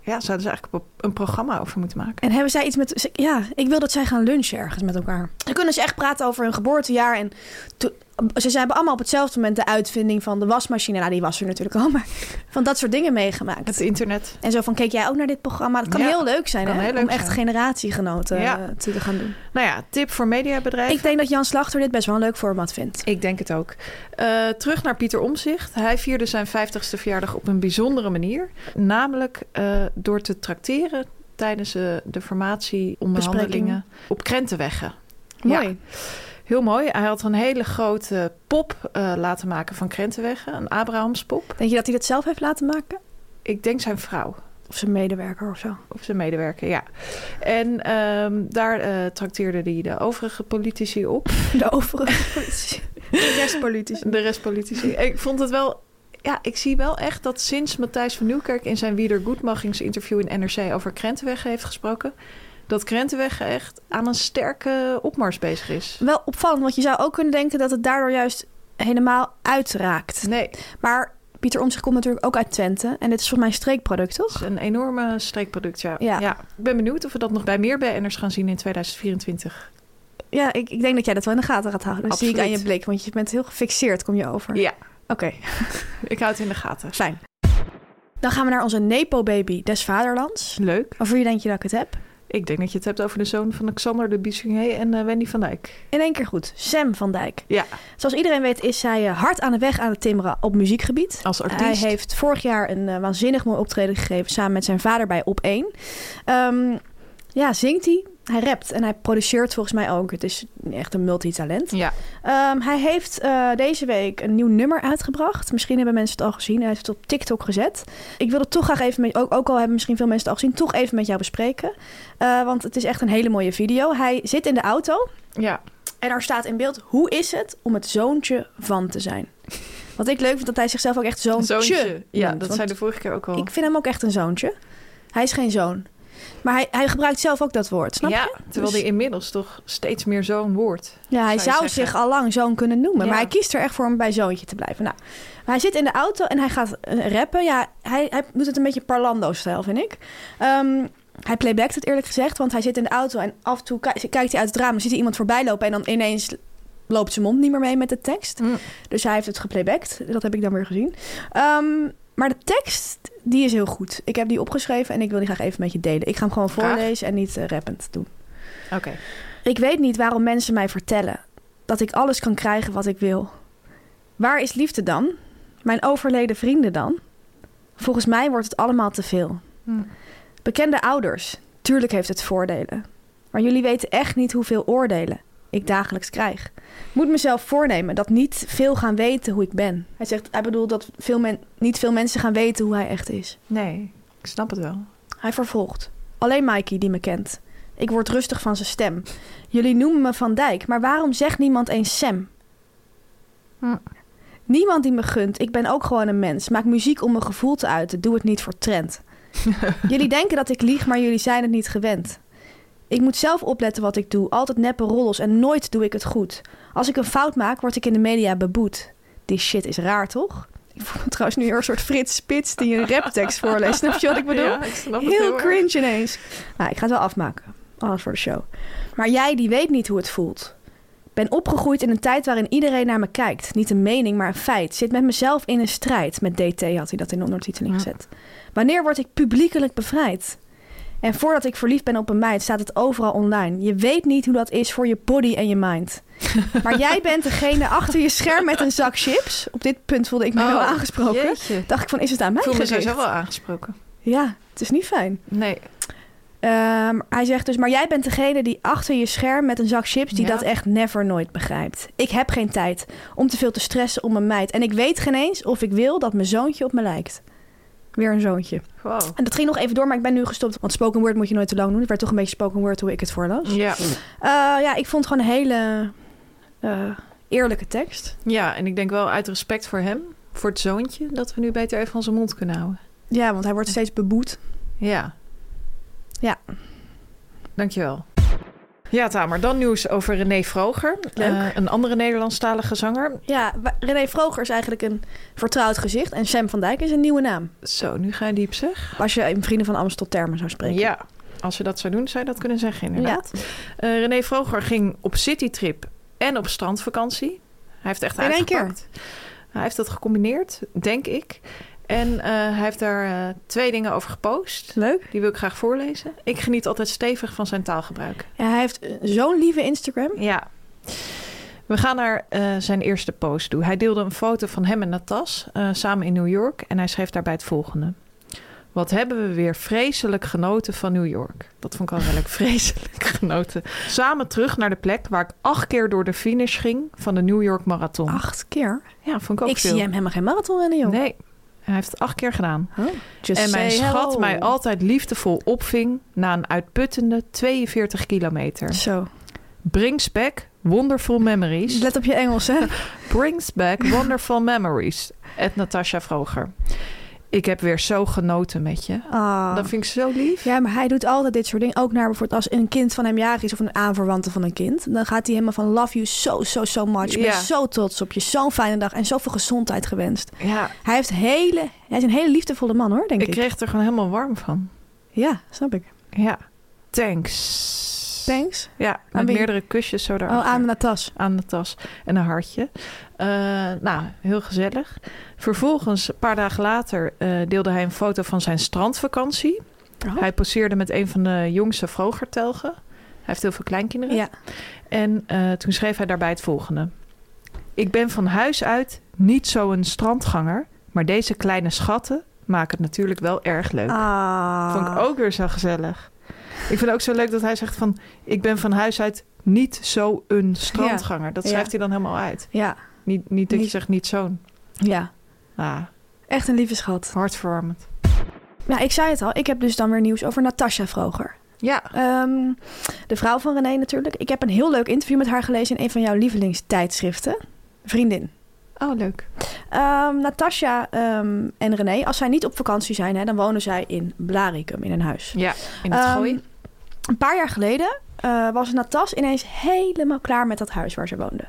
ja zouden ze eigenlijk op- een programma over moeten maken. En hebben zij iets met... ze- Ja, ik wil dat zij gaan lunchen ergens met elkaar. Dan kunnen ze echt praten over hun geboortejaar. En to- ze ze hebben allemaal op hetzelfde moment de uitvinding van de wasmachine. Nou, die was er natuurlijk al, maar van dat soort dingen meegemaakt. Het internet. En zo van, keek jij ook naar dit programma? Dat kan Ja, heel leuk zijn, kan hè? heel leuk Om echt zijn. generatiegenoten Ja. eh, te gaan doen. Nou ja, tip voor mediabedrijven. Ik denk dat Jan Slachter dit best wel een leuk format vindt. Ik denk het ook. Eh, terug naar Pieter Omzicht. Hij vierde zijn 50ste verjaardag op een bijzondere manier. Namelijk eh, door te tracteren tijdens eh, de formatieonderhandelingen op krentenweggen. Mooi. Heel mooi. Hij had een hele grote pop eh, laten maken van krentenweggen. Een Abrahamspop. Denk je dat hij dat zelf heeft laten maken? Ik denk zijn vrouw. Of zijn medewerker of zo? Of zijn medewerker, ja. En ehm, daar eh trakteerde hij de overige politici op. De overige politici. De restpolitici. De rest politici. Ik vond het wel... Ja, ik zie wel echt dat sinds Matthijs van Nieuwkerk... in zijn Wieder Goedmachings interview in NRC over Krentenwegen heeft gesproken... dat Krentenwegen echt aan een sterke opmars bezig is. Wel opvallend, want je zou ook kunnen denken dat het daardoor juist helemaal uitraakt. Nee, het Maar Pieter Omtzigt komt natuurlijk ook uit Twente. En dit is volgens mij een streekproduct, is toch? een enorme streekproduct, ja. Ja. Ik ben benieuwd of we dat nog bij meer BN'ers gaan zien in 2024. Ja, ik, ik denk dat jij dat wel in de gaten gaat houden. Dat zie ik aan Absoluut. je blik, want je bent heel gefixeerd, kom je over. Ja, Oké, ik hou het in de gaten. fijn. Dan gaan we naar onze Nepo-baby des vaderlands. Leuk. Over wie denk je dat ik het heb? Ik denk dat je het hebt over de zoon van Xander de Bissonnier en eh, Wendy van Dijk. In één keer goed, Sam van Dijk. Ja, Zoals iedereen weet is zij eh, hard aan de weg aan het timmeren op muziekgebied. als artiest. Hij heeft vorig jaar een eh, waanzinnig mooi optreden gegeven samen met zijn vader bij Op 1. Ehm, ja, zingt hij. Hij rapt en hij produceert volgens mij ook. Het is echt een multitalent. Ja, Ehm, hij heeft eh, deze week een nieuw nummer uitgebracht. Misschien hebben mensen het al gezien. Hij heeft het op TikTok gezet. Ik wil het toch graag even met ook, ook al hebben misschien veel mensen het al gezien, toch even met jou bespreken. Eh, want het is echt een hele mooie video. Hij zit in de auto. ja. En daar staat in beeld, hoe is het om het zoontje van te zijn? Wat ik leuk vind, dat hij zichzelf ook echt zoontje, Zoontje. Ja, noemt. dat Want zei de vorige keer ook al. Ik vind hem ook echt een zoontje. Hij is geen zoon. Maar hij, hij gebruikt zelf ook dat woord, snap ja, je? terwijl Dus- hij inmiddels toch steeds meer zo'n wordt. Ja, hij zou zou, je zeggen. zich al lang zoon kunnen noemen. Ja. Maar hij kiest er echt voor om bij zoontje te blijven. Nou, hij zit in de auto en hij gaat eh, rappen. Ja, hij, hij doet het een beetje parlando-stijl, vind ik. Ehm, Hij playbackt het eerlijk gezegd, want hij zit in de auto en af en toe ki- kijkt hij uit het raam en ziet hij iemand voorbij lopen en dan ineens loopt zijn mond niet meer mee met de tekst. Mm. Dus hij heeft het geplaybacked. Dat heb ik dan weer gezien. Ehm, maar de tekst, die is heel goed. Ik heb die opgeschreven en ik wil die graag even met je delen. Ik ga hem gewoon Graag. voorlezen en niet eh, rappend doen. Oké. Ik weet niet waarom mensen mij vertellen dat ik alles kan krijgen wat ik wil. Waar is liefde dan? Mijn overleden vrienden dan? Volgens mij wordt het allemaal te veel. Hm. Mm. Bekende ouders, tuurlijk heeft het voordelen. Maar jullie weten echt niet hoeveel oordelen ik dagelijks krijg. Ik moet mezelf voornemen dat niet veel gaan weten hoe ik ben. Hij zegt, hij bedoelt dat veel men, niet veel mensen gaan weten hoe hij echt is. Nee, ik snap het wel. Hij vervolgt. Alleen Mikey die me kent. Ik word rustig van zijn stem. Jullie noemen me Van Dijk, maar waarom zegt niemand eens Sam? Hm. Niemand die me gunt. Ik ben ook gewoon een mens. Maak muziek om mijn gevoel te uiten. Doe het niet voor trend. jullie denken dat ik lieg, maar jullie zijn het niet gewend. Ik moet zelf opletten wat ik doe. Altijd neppe rollos en nooit doe ik het goed. Als ik een fout maak, word ik in de media beboet. Die shit is raar, toch? Ik voel me trouwens nu weer een soort Frits Spits die een raptekst voorleest. Snap je wat ik bedoel? Ja, ik snap het heel, erg. cringe ineens. Nou, ik ga het wel afmaken. Alles voor de show. Maar jij die weet niet hoe het voelt. Ben opgegroeid in een tijd waarin iedereen naar me kijkt. Niet een mening, maar een feit. Zit met mezelf in een strijd. Met DT had hij dat in de ondertiteling Ja. gezet. Wanneer word ik publiekelijk bevrijd? En voordat ik verliefd ben op een meid, staat het overal online. Je weet niet hoe dat is voor je body en je mind. Maar jij bent degene achter je scherm met een zak chips. Op dit punt voelde ik me wel Oh, aangesproken. jeetje. Dacht ik van, is het aan mij Ik voel me gericht? sowieso wel aangesproken. Ja, het is niet fijn. Nee. Ehm, hij zegt dus, maar jij bent degene die achter je scherm met een zak chips... die Ja. dat echt never nooit begrijpt. Ik heb geen tijd om te veel te stressen om een meid. En ik weet geen eens of ik wil dat mijn zoontje op me lijkt. Weer een zoontje. Wow. En dat ging nog even door, maar ik ben nu gestopt. Want spoken word moet je nooit te lang doen. Het werd toch een beetje spoken word hoe ik het voorlas. Ja. Eh, ja, ik vond het gewoon een hele eh, eerlijke tekst. ja, en ik denk wel uit respect voor hem, voor het zoontje, dat we nu beter even onze mond kunnen houden. Ja, want hij wordt steeds beboet. Ja. Ja. Dankjewel. Ja, Tamer, dan nieuws over René Vroger. Leuk. Eh, een andere Nederlandstalige zanger. Ja, wa- René Vroger is eigenlijk een vertrouwd gezicht. En Sam van Dijk is een nieuwe naam. Zo, nu ga je diep zeg. Als je in Vrienden van Amstel termen zou spreken. Ja, als ze dat zou doen, zou je dat kunnen zeggen inderdaad. Eh, René Vroger ging op citytrip en op strandvakantie. Hij heeft echt In één keer? uitgepakt. Hij heeft dat gecombineerd, denk ik. En eh, hij heeft daar eh, twee dingen over gepost. Leuk. Die wil ik graag voorlezen. Ik geniet altijd stevig van zijn taalgebruik. Ja, hij heeft eh, zo'n lieve Instagram. Ja. We gaan naar eh, zijn eerste post toe. Hij deelde een foto van hem en Natas eh, samen in New York. En hij schreef daarbij het volgende. Wat hebben we weer vreselijk genoten van New York. Dat vond ik al redelijk vreselijk genoten. Samen terug naar de plek waar ik acht keer door de finish ging van de New York Marathon. Acht keer. Ja, vond Oh. ik ook ik veel. zie hem helemaal geen marathon rennen, joh. Nee, hij heeft het acht keer gedaan. Huh? Just en mijn say schat hello. mij altijd liefdevol opving na een uitputtende 42 kilometer. Zo. Brings back wonderful memories. Let op je Engels, hè. Brings back wonderful memories. At Natasha Vroger. Ik heb weer zo genoten met je. Ah. Dat vind ik zo lief. Ja, maar hij doet altijd dit soort dingen. Ook naar bijvoorbeeld als een kind van hem jarig is of een aanverwante van een kind. Dan gaat hij helemaal van love you so, so, so much. Ik Ja. ben zo trots op je. Zo'n fijne dag en zoveel gezondheid gewenst. Ja, Hij, heeft hele, hij is een hele liefdevolle man, hoor, denk ik. ik kreeg er gewoon helemaal warm van. Ja, snap ik. Ja. Thanks. Thanks. Ja, met Aan wie? meerdere kusjes zo daar. Oh, aan de tas. aan de tas en een hartje. Eh, nou, heel gezellig. Vervolgens, een paar dagen later, eh, deelde hij een foto van zijn strandvakantie. Oh. Hij poseerde met een van de jongste vrogertelgen. Hij heeft heel veel kleinkinderen. Ja. En eh, toen schreef hij daarbij het volgende. Ik ben van huis uit niet zo'n strandganger, maar deze kleine schatten maken het natuurlijk wel erg leuk. Ah. Vond ik ook weer zo gezellig. Ik vind het ook zo leuk dat hij zegt van... ik ben van huis uit niet zo'n strandganger. Dat Ja. schrijft hij dan helemaal uit. Ja, Niet, niet dat je Niet- zegt niet zo'n. ja. Ah, Echt een lieve schat. hartverwarmend. Nou, ik zei het al. Ik heb dus dan weer nieuws over Natasha Vroger. Ja. Ehm, de vrouw van René natuurlijk. Ik heb een heel leuk interview met haar gelezen in een van jouw lievelingstijdschriften. Vriendin. Oh, leuk. Ehm Natasja ehm, en René, als zij niet op vakantie zijn, hè, dan wonen zij in Blarikum in een huis. Ja, in het Ehm, gooi. Een paar jaar geleden eh, was Natas ineens helemaal klaar met dat huis waar ze woonde.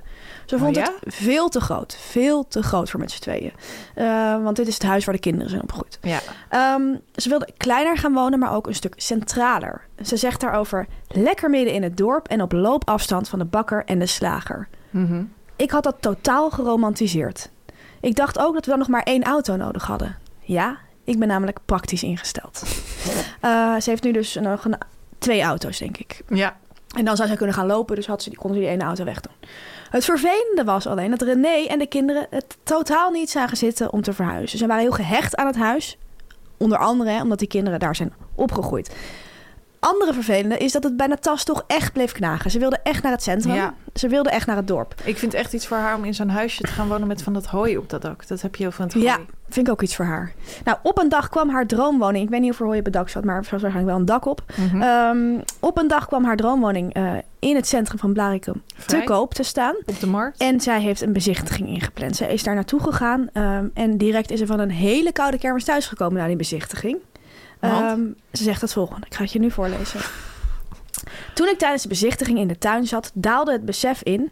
Ze vond Oh, het veel te groot. Veel te groot voor met z'n tweeën. Eh, want dit is het huis waar de kinderen zijn opgegroeid. Ja. Ehm, ze wilde kleiner gaan wonen, maar ook een stuk centraler. Ze zegt daarover lekker midden in het dorp en op loopafstand van de bakker en de slager. Mhm. Ik had dat totaal geromantiseerd. Ik dacht ook dat we dan nog maar één auto nodig hadden. Ja, ik ben namelijk praktisch ingesteld. Eh, ze heeft nu dus nog een, twee auto's, denk ik. Ja. En dan zou zij kunnen gaan lopen, dus had ze, die- kon ze die ene auto wegdoen. Het vervelende was alleen dat René en de kinderen het totaal niet zagen zitten om te verhuizen. Ze waren heel gehecht aan het huis. Onder andere hè, omdat die kinderen daar zijn opgegroeid. Andere vervelende is dat het bij Natas toch echt bleef knagen. Ze wilde echt naar het centrum. Ja. Ze wilde echt naar het dorp. Ik vind echt iets voor haar om in zo'n huisje te gaan wonen met van dat hooi op dat dak. Dat heb je heel van het hooi. Ja, vind ik ook iets voor haar. Nou, op een dag kwam haar droomwoning. Ik weet niet of er hooi op het dak zat, maar er zat waarschijnlijk wel een dak op. Mhm. Ehm, op een dag kwam haar droomwoning eh, in het centrum van Blarikum te Vrij. koop te staan. Op de markt. En zij heeft een bezichtiging ingepland. Zij is daar naartoe gegaan ehm, en direct is ze van een hele koude kermis thuisgekomen na die bezichtiging. Want? Ehm, ze zegt het volgende. Ik ga het je nu voorlezen. Toen ik tijdens de bezichtiging in de tuin zat, daalde het besef in.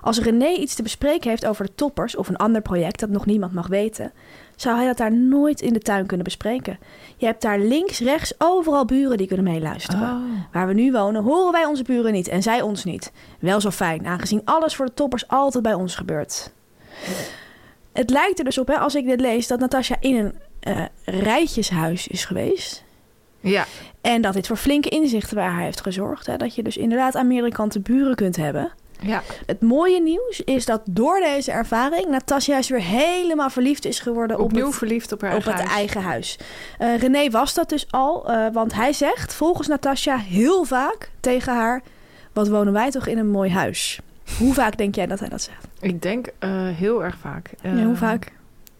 Als René iets te bespreken heeft over de toppers of een ander project dat nog niemand mag weten, zou hij dat daar nooit in de tuin kunnen bespreken. Je hebt daar links, rechts, overal buren die kunnen meeluisteren. Oh. Waar we nu wonen horen wij onze buren niet en zij ons niet. Wel zo fijn, aangezien alles voor de toppers altijd bij ons gebeurt. Het lijkt er dus op, hè, als ik dit lees, dat Natasja in een eh, rijtjeshuis is geweest. Ja. En dat dit voor flinke inzichten bij haar heeft gezorgd. Hè, dat je dus inderdaad aan meerdere kanten buren kunt hebben. Ja. Het mooie nieuws is dat door deze ervaring Natasja juist weer helemaal verliefd is geworden op Opnieuw het verliefd op haar op het huis. eigen huis. Eh, René was dat dus al, eh, want hij zegt volgens Natasja heel vaak tegen haar: Wat wonen wij toch in een mooi huis? Hoe vaak denk jij dat hij dat zegt? Ik denk eh, heel erg vaak. Ja, hoe Eh, vaak?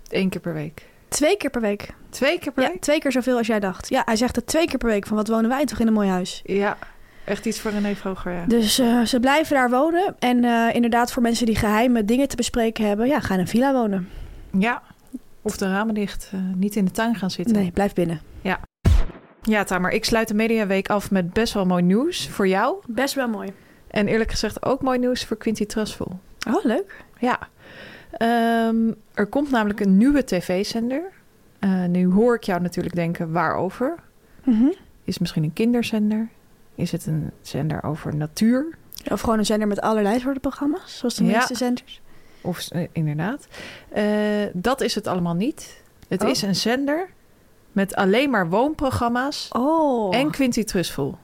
Eén keer per week. Twee keer per week. Twee keer per Ja, week? twee keer zoveel als jij dacht. Ja, hij zegt het twee keer per week: van wat wonen wij toch in een mooi huis? Ja. Echt iets voor René Vroger, ja. Dus eh, ze blijven daar wonen. En eh, inderdaad, voor mensen die geheime dingen te bespreken hebben, ja, ga in een villa wonen. Ja. Of de ramen dicht. eh, niet in de tuin gaan zitten. Nee, blijf binnen. Ja, Tamer. Ik sluit de Mediaweek af met best wel mooi nieuws voor jou. Best wel mooi. En eerlijk gezegd ook mooi nieuws voor Quinty Trustful. Oh, leuk. Ja. Ehm, er komt namelijk een nieuwe tv-zender. Eh, nu hoor ik jou natuurlijk denken, waarover? Mhm. Is het misschien een kinderzender? Is het een zender over natuur? Of gewoon een zender met allerlei soorten programma's, zoals de Ja. meeste zenders. Of s- eh, inderdaad. Eh, dat is het allemaal niet. Het Oh. is een zender met alleen maar woonprogramma's Oh, en Quinty Trustful.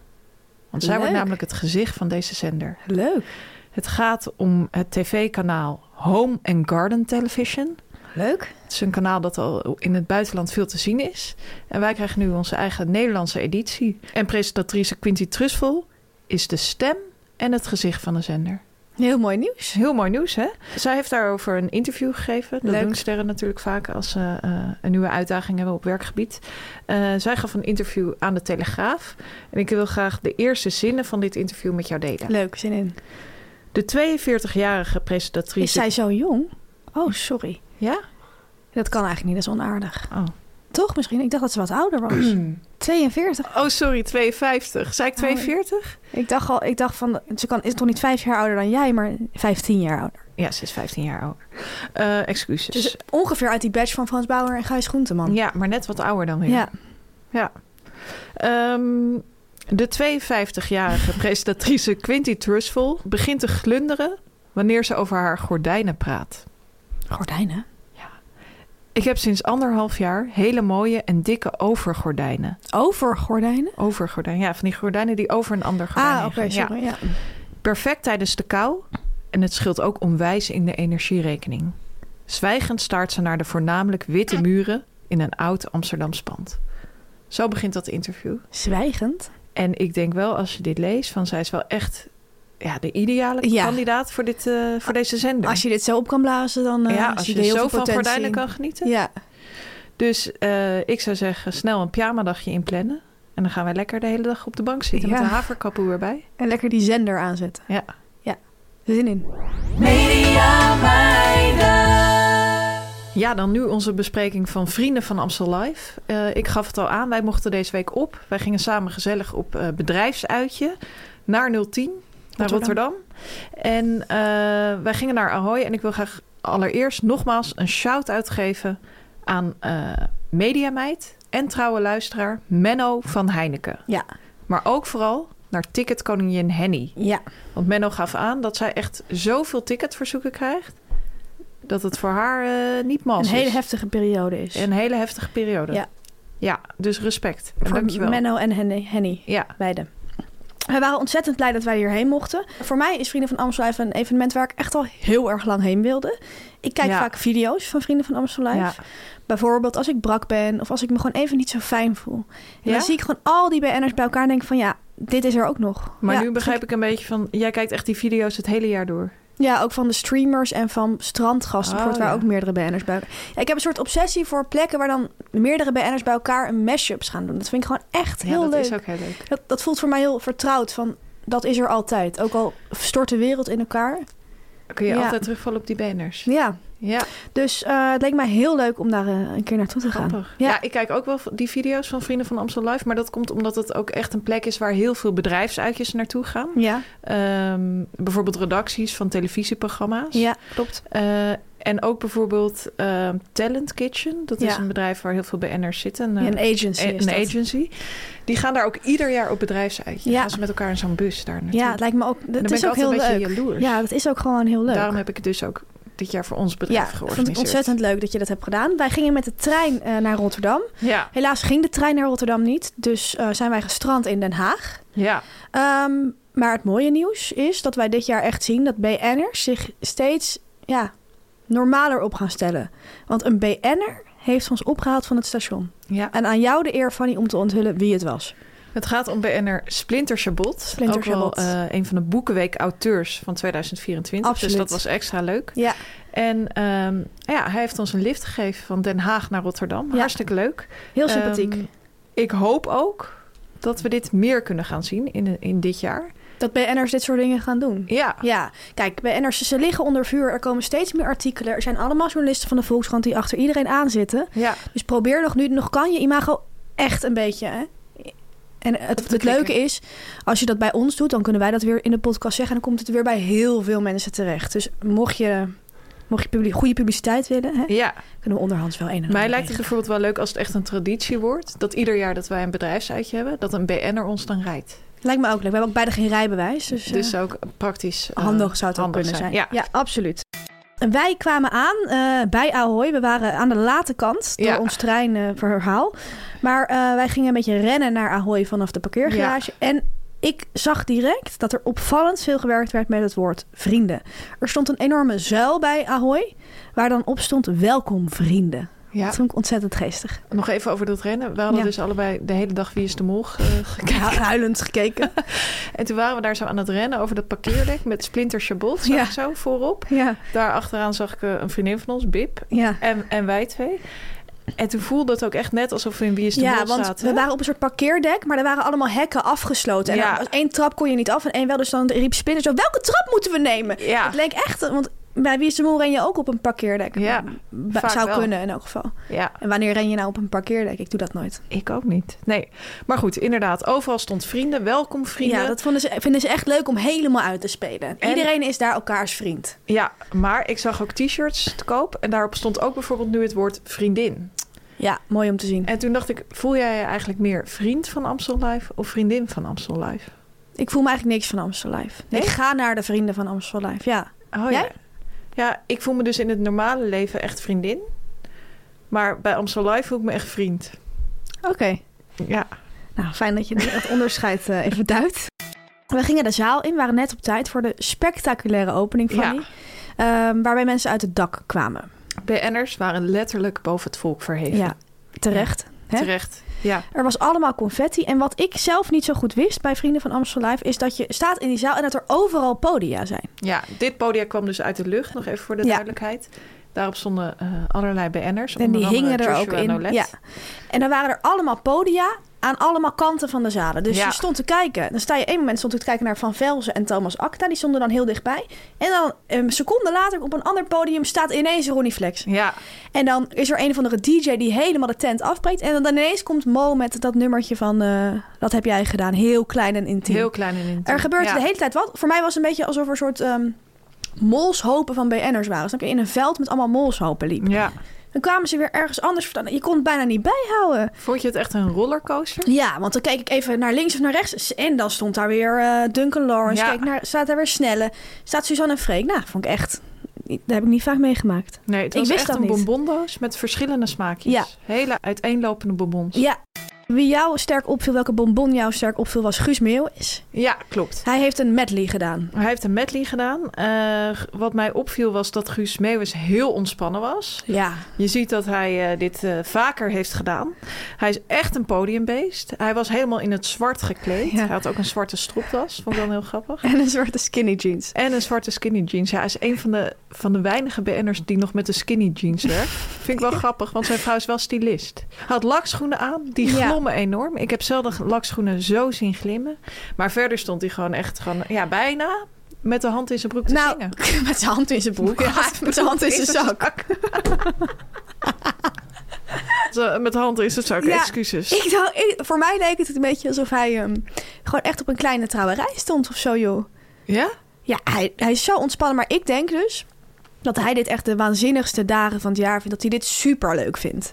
Want zij wordt Leuk. namelijk het gezicht van deze zender. leuk. Het gaat om het tv-kanaal Home and Garden Television. Leuk. Het is een kanaal dat al in het buitenland veel te zien is. En wij krijgen nu onze eigen Nederlandse editie. En presentatrice Quinty Trustful is de stem en het gezicht van de zender. Heel mooi nieuws. Is heel mooi nieuws, hè? Zij heeft daarover een interview gegeven. Dat Leuk. doen sterren natuurlijk vaak als ze eh, een nieuwe uitdaging hebben op werkgebied. Eh, zij gaf een interview aan de Telegraaf. En ik wil graag de eerste zinnen van dit interview met jou delen. Leuk, zin in. De 42-jarige presentatrice... Is zij zo jong? Oh, sorry. Ja? Dat kan eigenlijk niet, dat is onaardig. Oh. Toch misschien? Ik dacht dat ze wat ouder was. 42. Oh, sorry, 52. Zei ik Oh, ik- 42? Ik dacht al, ik dacht van, ze kan, is toch niet vijf jaar ouder dan jij, maar 15 jaar ouder. Ja, ze is 15 jaar ouder. Eh, excuses. Dus ongeveer uit die badge van Frans Bauer en Gijs Groenteman. ja, Oh, maar net wat ouder dan weer. Ja. Ehm, de 52-jarige presentatrice Quinty Trustful begint te glunderen wanneer ze over haar gordijnen praat. Gordijnen. Ik heb sinds anderhalf jaar hele mooie en dikke overgordijnen. Over gordijnen? Overgordijnen, ja, van die gordijnen die over een ander gordijn ah, heen oké, gaan. Ja. sorry. Ja. Perfect tijdens de kou en het scheelt ook onwijs in de energierekening. Zwijgend staart ze naar de voornamelijk witte muren in een oud Amsterdams pand. Zo begint dat interview. Zwijgend. En ik denk wel, als je dit leest, van zij is wel echt ja, de ideale Ja. kandidaat voor, dit, eh, voor deze zender. Als je dit zo op kan blazen, dan eh ja, als zie je, er heel zo veel van potentie gordijnen in. kan genieten. Ja, Dus eh, ik zou zeggen, snel een pyjamadagje inplannen. En dan gaan wij lekker de hele dag op de bank zitten Ja. met een haverkapoe erbij. en lekker die zender aanzetten. Ja. Zin in. Ja, dan nu onze bespreking van Vrienden van Amstel Live. Eh, ik gaf het al aan, wij mochten deze week op. Wij gingen samen gezellig op eh, bedrijfsuitje. naar 010, naar Rotterdam. Rotterdam. En eh, wij gingen naar Ahoy. En ik wil graag allereerst nogmaals een shout-out geven aan eh Mediameid en trouwe luisteraar Menno van Heineken. Ja. Maar ook vooral naar ticketkoningin Henny. Ja, Want Menno gaf aan dat zij echt zoveel ticketverzoeken krijgt... dat het voor haar eh, niet mals een hele is. heftige periode is. Een hele heftige periode. Ja. Ja, dus respect. En voor dankjewel. Menno en Henny. Henny. Ja, beide. We waren ontzettend blij dat wij hierheen mochten. Voor mij is Vrienden van Amstel Live een evenement waar ik echt al heel erg lang heen wilde. Ik kijk Ja. vaak video's van Vrienden van Amstel Live. ja. Bijvoorbeeld als ik brak ben of als ik me gewoon even niet zo fijn voel. En Ja? dan zie ik gewoon al die BN'ers bij elkaar en denk van ja, dit is er ook nog. Maar ja, nu begrijp ik een beetje van... Jij kijkt echt die video's het hele jaar door. Ja, ook van de streamers en van strandgasten, Oh, bijvoorbeeld, waar ja. ook meerdere BN'ers bij elkaar... Ja, ik heb een soort obsessie voor plekken waar dan meerdere BN'ers bij elkaar een mashups gaan doen. Dat vind ik gewoon echt heel ja, dat leuk. is ook heel leuk. Dat, dat voelt voor mij heel vertrouwd. Van, dat is er altijd. Ook al stort de wereld in elkaar. Dan kun je Ja. altijd terugvallen op die banners. Ja, Ja, dus eh, het leek mij heel leuk om daar eh, een keer naartoe te gaan. grappig. Ja. Ja. ik kijk ook wel die video's van Vrienden van Amstel Live. Maar dat komt omdat het ook echt een plek is waar heel veel bedrijfsuitjes naartoe gaan. Ja, Ehm, bijvoorbeeld redacties van televisieprogramma's. ja, klopt. Eh, en ook bijvoorbeeld ehm, Talent Kitchen. Dat is Ja. een bedrijf waar heel veel BN'ers zitten. Ja, Eh, een agency een is dat. agency. Die gaan daar ook ieder jaar op bedrijfsuitje. Ja. Gaan ze met elkaar in zo'n bus daar naartoe. Ja, het lijkt me ook... Dan Het ben is ik ook heel altijd een leuk. beetje jaloers. Ja, dat is ook gewoon heel leuk. Daarom heb ik het dus ook dit jaar voor ons bedrijf ja, ik vond georganiseerd. het ontzettend leuk dat je dat hebt gedaan. Wij gingen met de trein eh, naar Rotterdam. Ja, Helaas ging de trein naar Rotterdam niet. Dus eh, zijn wij gestrand in Den Haag. ja. Ehm, maar het mooie nieuws is dat wij dit jaar echt zien dat BN'ers zich steeds ja, normaler op gaan stellen. Want een BN'er heeft ons opgehaald van het station. ja. En aan jou de eer, Fanny, om te onthullen wie het was. Het gaat om BN'er Splinter Chabot. Splinter ook wel Chabot. eh, een van de Boekenweek auteurs van 2024. Dus Absoluut. dat was extra leuk. Ja, En ehm, ja, hij heeft ons een lift gegeven van Den Haag naar Rotterdam. Ja. Hartstikke leuk. heel sympathiek. Ehm, ik hoop ook dat we dit meer kunnen gaan zien in, in dit jaar. dat BN'ers dit soort dingen gaan doen. Ja, Ja, kijk, BN'ers ze liggen onder vuur. Er komen steeds meer artikelen. Er zijn allemaal journalisten van de Volkskrant die achter iedereen aan zitten. ja. Dus probeer nog nu, nog kan je imago echt een beetje. Hè? En het, het leuke klikken. is, als je dat bij ons doet, dan kunnen wij dat weer in de podcast zeggen. En dan komt het weer bij heel veel mensen terecht. Dus mocht je, mocht je publi- goede publiciteit willen, hè, ja. kunnen we onderhands wel een en ander Mij lijkt het regelen. bijvoorbeeld wel leuk als het echt een traditie wordt. Dat ieder jaar dat wij een bedrijfsuitje hebben, dat een BN'er ons dan rijdt. Lijkt me ook leuk. We hebben ook beide geen rijbewijs. Dus, eh, Dus ook praktisch. eh, handig zou het ook handig kunnen zijn. Ja. Ja, absoluut. En Wij kwamen aan eh, bij Ahoy. We waren aan de late kant door Ja. ons treinverhaal. maar eh, wij gingen een beetje rennen naar Ahoy vanaf de parkeergarage. En ik zag direct dat er opvallend veel gewerkt werd met het woord vrienden. Er stond een enorme zuil bij Ahoy, waar dan op stond welkom vrienden. Ja. Dat vond ik ontzettend geestig. Nog even over dat rennen. We hadden Ja. dus allebei de hele dag Wie is de Mol ge- Ik heb gekeken. huilend gekeken. En toen waren we daar zo aan het rennen over dat parkeerdek met Splinter Chabot zag Ja. ik zo voorop. ja, Daar achteraan zag ik eh, een vriendin van ons, Bib, ja. en, en wij twee. En toen voelde het ook echt net alsof we in Wie is de Ja, Mol want zaten. we waren op een soort parkeerdek, maar er waren allemaal hekken afgesloten. En Ja. er was één trap kon je niet af en één wel. Dus dan riep Spinner zo, welke trap moeten we nemen? Ja. Het leek echt, want bij Wie is de Mol ren je ook op een parkeerdek. Ja, Ba- vaak Zou wel. kunnen in elk geval. Ja, En wanneer ren je nou op een parkeerdek? Ik doe dat nooit. ik ook niet. Nee, maar goed, inderdaad. Overal stond vrienden. Welkom vrienden. Ja, dat vonden ze, vinden ze echt leuk om helemaal uit te spelen. En- Iedereen is daar elkaars vriend. Ja, maar ik zag ook t-shirts te koop. En daarop stond ook bijvoorbeeld nu het woord vriendin. Ja, mooi om te zien. En toen dacht ik, voel jij je eigenlijk meer vriend van Amstel Live of vriendin van Amstel Live? Ik voel me eigenlijk niks van Amstel Live. Nee? Ik ga naar de vrienden van Amstel Live, ja. Oh ja. Jij? Ja, ik voel me dus in het normale leven echt vriendin. Maar bij Amstel Live voel ik me echt vriend. Oké. Ja, Nou, fijn dat je dat onderscheid eh, even duidt. We gingen de zaal in, waren net op tijd voor de spectaculaire opening van Ja. die. ehm, waarbij mensen uit het dak kwamen. BN'ers waren letterlijk boven het volk verheven. Ja, terecht. hè? Terecht. Ja. Er was allemaal confetti. En wat ik zelf niet zo goed wist bij Vrienden van Amstel Live... is dat je staat in die zaal en dat er overal podia zijn. ja, dit podium kwam dus uit de lucht, nog even voor de Ja. duidelijkheid. Daarop stonden eh, allerlei BN'ers. En onder die andere hingen er Joshua ook in. Nolet. Ja. En dan waren er allemaal podia aan allemaal kanten van de zalen. Dus Ja. je stond te kijken. Dan sta je één moment stond ik te kijken naar Van Velzen en Thomas Acta. Die stonden dan heel dichtbij. En dan ehm, een seconde later op een ander podium staat ineens Ronnie Flex. Ja, En dan is er een of andere DJ die helemaal de tent afbreekt. En dan ineens komt Mo met dat nummertje van... eh, dat heb jij gedaan. Heel klein en intiem. heel klein en intiem. Er gebeurt Ja. de hele tijd wat. Voor mij was het een beetje alsof er een soort ehm, molshopen van BN'ers waren. Snap je? In een veld met allemaal molshopen liep. Ja. Dan kwamen ze weer ergens anders vandaan. Je kon het bijna niet bijhouden. Vond je het echt een rollercoaster? Ja, want dan keek ik even naar links of naar rechts. En dan stond daar weer eh, Duncan Lawrence. Ja. Kijk, naar, staat daar weer Snelle. Staat Suzanne en Freek. Nou, vond ik echt... Dat heb ik niet vaak meegemaakt. Nee, het Ik was wist echt dat een niet. bonbondoos met verschillende smaakjes. Ja. Hele uiteenlopende bonbons. Ja. Wie jou sterk opviel, welke bonbon jou sterk opviel, was Guus Meeuwis. Ja, klopt. Hij heeft een medley gedaan. Hij heeft een medley gedaan. Eh, g- wat mij opviel was dat Guus Meeuwis heel ontspannen was. Ja. Je ziet dat hij eh, dit eh, vaker heeft gedaan. Hij is echt een podiumbeest. Hij was helemaal in het zwart gekleed. Ja. Hij had ook een zwarte stropdas. Vond ik dan heel grappig. En een soort skinny jeans. En een zwarte skinny jeans. Ja, hij is een van de, van de weinige BN'ers die nog met de skinny jeans werkt. Vind ik wel grappig, want zijn vrouw is wel stylist. Hij had lakschoenen aan, die Ja. glommen enorm. Ik heb zelden lakschoenen zo zien glimmen. Maar verder stond hij gewoon echt gewoon, ja, bijna met de hand in zijn broek te nou, zingen. met zijn hand in zijn broek. Ja, Ja, met zijn hand in zijn zak. Zo, Met de hand in zijn zak, Ja. excuses. Ik dacht, ik- voor mij leek het een beetje alsof hij ehm, gewoon echt op een kleine trouwerij stond of zo, joh. Ja? Ja, hij, hij is zo ontspannen. Maar ik denk dus dat hij dit echt de waanzinnigste dagen van het jaar vindt. Dat hij dit super leuk vindt.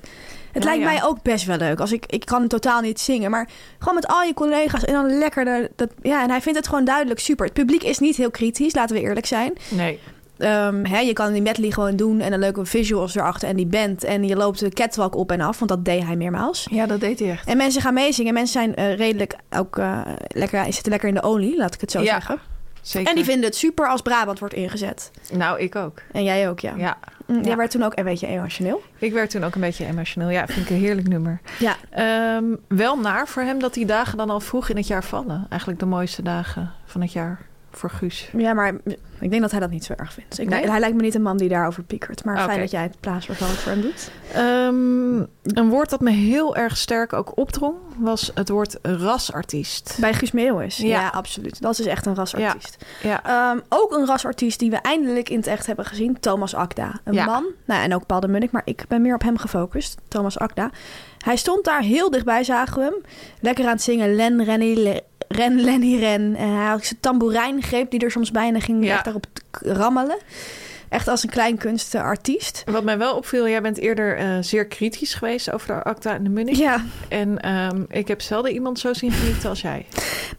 Het Ja, lijkt ja. mij ook best wel leuk. Als ik, ik kan totaal niet zingen. Maar gewoon met al je collega's en dan lekker. de- dat, ja, en hij vindt het gewoon duidelijk super. Het publiek is niet heel kritisch, laten we eerlijk zijn. Nee. Ehm, hè, je kan die medley gewoon doen en een leuke visuals erachter en die band. En je loopt de catwalk op en af, want dat deed hij meermaals. Ja, dat deed hij echt. En mensen gaan meezingen. Mensen zijn eh, redelijk ook eh, lekker, zitten lekker in de olie, laat ik het zo Ja, zeggen. Zeker. En die vinden het super als Brabant wordt ingezet. Nou, ik ook. En jij ook, ja. Ja. Mm, Jij Ja. werd toen ook een beetje emotioneel. Ik werd toen ook een beetje emotioneel. Ja, vind ik een heerlijk nummer. Ja. Ehm, wel naar voor hem dat die dagen dan al vroeg in het jaar vallen. Eigenlijk de mooiste dagen van het jaar voor Guus. Ja, maar ik denk dat hij dat niet zo erg vindt. Ik, Nee? Hij lijkt me niet een man die daarover piekert. Maar Oké. fijn dat jij het plaatsvervangend voor hem doet. Ehm, een woord dat me heel erg sterk ook opdrong was het woord rasartiest. Bij Guus Meeuwis. Ja. Ja. absoluut. Dat is echt een rasartiest. Ja, Ehm, ook een rasartiest die we eindelijk in het echt hebben gezien. Thomas Akda. Een Ja. man. Nou, en ook Paul de Munnik. Maar ik ben meer op hem gefocust. Thomas Akda. Hij stond daar heel dichtbij, zagen we hem. Lekker aan het zingen. Len, Renny, Le- Ren, Lenny, Ren. En hij had zijn tamboerijngreep die er soms bijna ging Ja. echt daarop k- rammelen. Echt als een klein kunstartiest. wat mij wel opviel, jij bent eerder eh, zeer kritisch geweest over de acta en de Munich. Ja, En ehm, ik heb zelden iemand zo zien genieten als jij.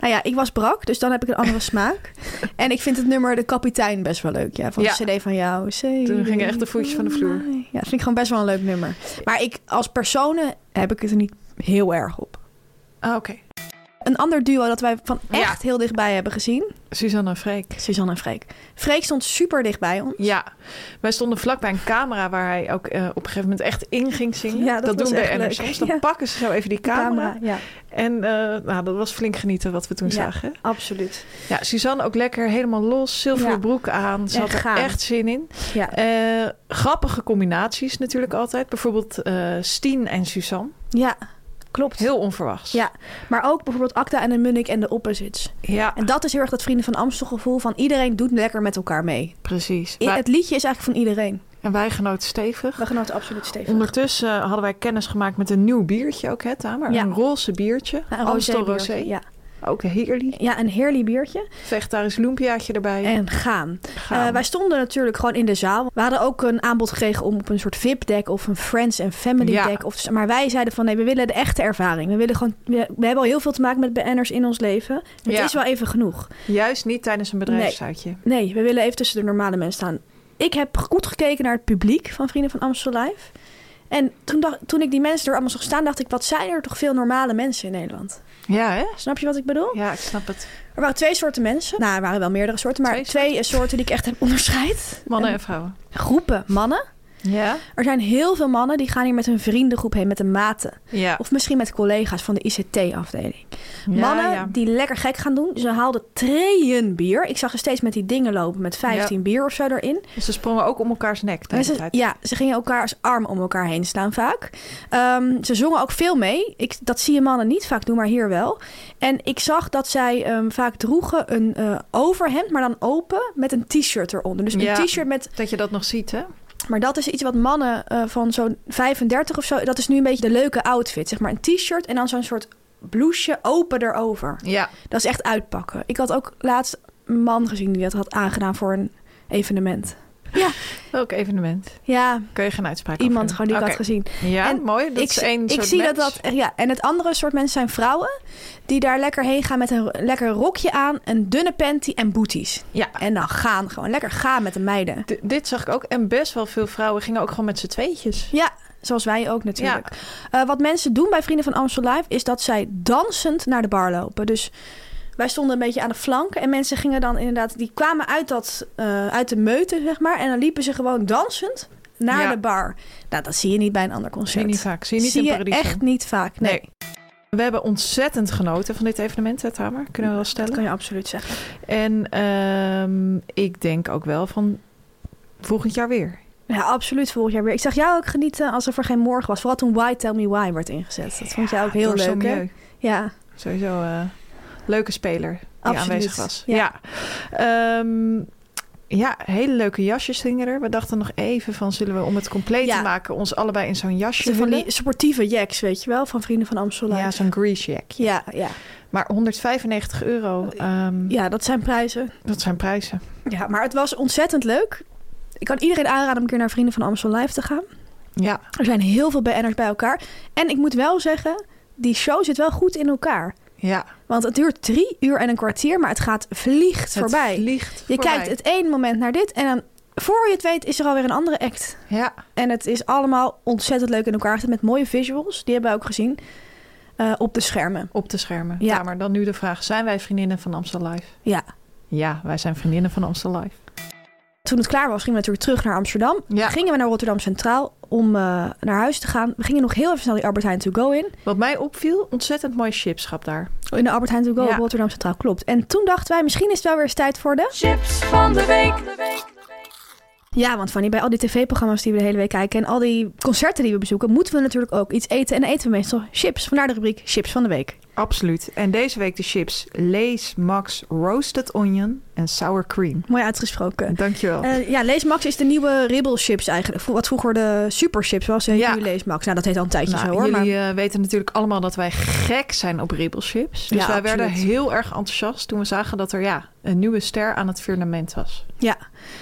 nou ja, ik was brak, dus dan heb ik een andere smaak. En ik vind het nummer De Kapitein best wel leuk, ja. Van Ja. de cd van jou. Toen gingen echt de voetjes van de vloer. Ja, dat vind ik gewoon best wel een leuk nummer. Maar ik, als personen heb ik het er niet heel erg op. Ah, Oké, Een ander duo dat wij van Ja. echt heel dichtbij hebben gezien. Suzanne en Freek. Suzanne en Freek. Freek stond super dichtbij ons. Ja, wij stonden vlakbij een camera waar hij ook eh, op een gegeven moment echt in ging zingen. Ja, dat was doen echt we leuk. soms. Dan Ja. pakken ze zo even die De camera. Ja, En eh, nou, dat was flink genieten wat we toen Ja. zagen. absoluut. Ja, Suzanne ook lekker helemaal los, zilveren Ja. broek aan. Ze En had er gaan. echt zin in. Ja. Eh, grappige combinaties natuurlijk altijd. Bijvoorbeeld eh Stien en Suzanne. ja, klopt. Heel onverwachts. Ja, maar ook bijvoorbeeld Acta en de Munnik en de Opposites. Ja, En dat is heel erg dat Vrienden van Amstel gevoel van iedereen doet lekker met elkaar mee. precies. I- Wij- het liedje is eigenlijk van iedereen. en wij genoten stevig. We genoten absoluut stevig. Ondertussen eh, hadden wij kennis gemaakt met een nieuw biertje ook, hè Tamer? Ja. Een roze biertje. Ja, een Amstel rosébeertje, Rosé. Ja. Ook heerlijk. ja, een heerlijk biertje. Vegetarisch loempiaatje erbij. En gaan. Gaan. Eh, wij stonden natuurlijk gewoon in de zaal. We hadden ook een aanbod gekregen om op een soort VIP-deck of een Friends and Family Ja. deck. Of, maar wij zeiden van nee, we willen de echte ervaring. We, willen gewoon, we, we hebben al heel veel te maken met BN'ers in ons leven. Het Ja. is wel even genoeg. Juist niet tijdens een bedrijfsuitje. Nee, we willen even tussen de normale mensen staan. Ik heb goed gekeken naar het publiek van Vrienden van Amstel Live. En toen, dacht, toen ik die mensen er allemaal zag staan, dacht ik... wat zijn er toch veel normale mensen in Nederland? Ja, hè? Snap je wat ik bedoel? Ja, ik snap het. Er waren twee soorten mensen. Nou, er waren wel meerdere soorten, maar Twee twee, soorten die ik echt heb onderscheid. Mannen En- en vrouwen. Groepen mannen Ja? Er zijn heel veel mannen die gaan hier met hun vriendengroep heen, met de maten. Ja. Of misschien met collega's van de ICT-afdeling. Mannen ja. die lekker gek gaan doen. Ze haalden treien bier. Ik zag ze steeds met die dingen lopen met 15 bier of zo erin. Ze sprongen ook om elkaars nek de En hele ze, tijd. ja, ze gingen elkaars arm om elkaar heen staan vaak. Ehm, ze zongen ook veel mee. Ik, dat zie je mannen niet vaak doen, maar hier wel. En ik zag dat zij ehm, vaak droegen een eh, overhemd, maar dan open met een t-shirt eronder. Dus Ja. een t-shirt met... Dat je dat nog ziet, hè? Maar dat is iets wat mannen eh, van zo'n 35 of zo... Dat is nu een beetje de leuke outfit, zeg maar. Een t-shirt en dan zo'n soort blouseje open erover. Ja. Dat is echt uitpakken. Ik had ook laatst een man gezien die dat had aangedaan voor een evenement. Welk evenement? Ja, Kun je geen uitspraak iemand over gewoon doen. die ik Oké. had gezien. Ja, En mooi. Dat ik is één ik soort zie dat match. dat. Ja, en het andere soort mensen zijn vrouwen. Die daar lekker heen gaan met een lekker rokje aan. Een dunne panty en booties. Ja. En dan gaan gewoon. Lekker gaan met de meiden. D- dit zag ik ook. En best wel veel vrouwen gingen ook gewoon met z'n tweetjes. Ja, zoals wij ook natuurlijk. Eh, wat mensen doen bij Vrienden van Amstel Live... is dat zij dansend naar de bar lopen. Dus wij stonden een beetje aan de flank... en mensen gingen dan inderdaad... die kwamen uit, dat, eh, uit de meute, zeg maar... en dan liepen ze gewoon dansend naar Ja. de bar. Nou, dat zie je niet bij een ander Zie concert. je niet vaak. Zie je niet Zie in je Paradiso. echt niet vaak, nee. Nee. We hebben ontzettend genoten van dit evenement, hè, Tamer? Kunnen we wel stellen. Dat kan je absoluut zeggen. En ehm, ik denk ook wel van volgend jaar weer. Ja, absoluut volgend jaar weer. Ik zag jou ook genieten alsof er geen morgen was. Vooral toen Why Tell Me Why werd ingezet. Dat vond jij ook heel Door leuk, hè? Sommieu. Ja. Sowieso eh leuke speler die Absoluut, aanwezig was. ja. Ja. Ehm, ja, hele leuke jasjes hingen er. We dachten nog even van, zullen we om het compleet Ja. te maken... ons allebei in zo'n jasje Van hullen? die sportieve jacks, weet je wel, van Vrienden van Amstel Ja, Live. zo'n grease jack. Ja, ja. Maar 195 euro, ehm, ja, dat zijn prijzen. dat zijn prijzen. Ja, maar het was ontzettend leuk. Ik kan iedereen aanraden om een keer naar Vrienden van Amstel Live te gaan. Ja, Er zijn heel veel BN'ers bij elkaar. En ik moet wel zeggen, die show zit wel goed in elkaar. ja. Want het duurt drie uur en een kwartier, maar het gaat vliegt voorbij. Het vliegt je voorbij. kijkt het ene moment naar dit en dan, voor je het weet, is er alweer een andere act. Ja, En het is allemaal ontzettend leuk in elkaar gezet met mooie visuals. Die hebben we ook gezien eh, op de schermen. op de schermen. Ja. Ja. maar dan nu de vraag, zijn wij vriendinnen van Amstel Live? Ja. Ja, wij zijn vriendinnen van Amstel Live. Toen het klaar was, gingen we natuurlijk terug naar Amsterdam. Ja. Gingen we naar Rotterdam Centraal om eh, naar huis te gaan. We gingen nog heel even snel die Albert Heijn To Go in. Oh, Wat mij opviel, ontzettend mooi chipschap daar. In de Albert Heijn To Go Ja. op Rotterdam Centraal, klopt. En toen dachten wij, misschien is het wel weer eens tijd voor de... Chips van de week. Ja, want Fanny, bij al die tv-programma's die we de hele week kijken... en al die concerten die we bezoeken, moeten we natuurlijk ook iets eten. En dan eten we meestal chips. Vandaar de rubriek Chips van de Week. Absoluut. En deze week de chips Lees Max Roasted Onion en Sour Cream. Mooi uitgesproken. Dankjewel. Eh, ja, Lees Max is de nieuwe Ribble Chips eigenlijk. Vro- Wat vroeger de Super Chips was, heet Ja. nu Lees Max. Nou, dat heet al een tijdje Nou, zo hoor. jullie Maar eh, weten natuurlijk allemaal dat wij gek zijn op ribbelchips. Dus Ja, wij absoluut. werden heel erg enthousiast toen we zagen dat er ja, een nieuwe ster aan het firmament was. ja.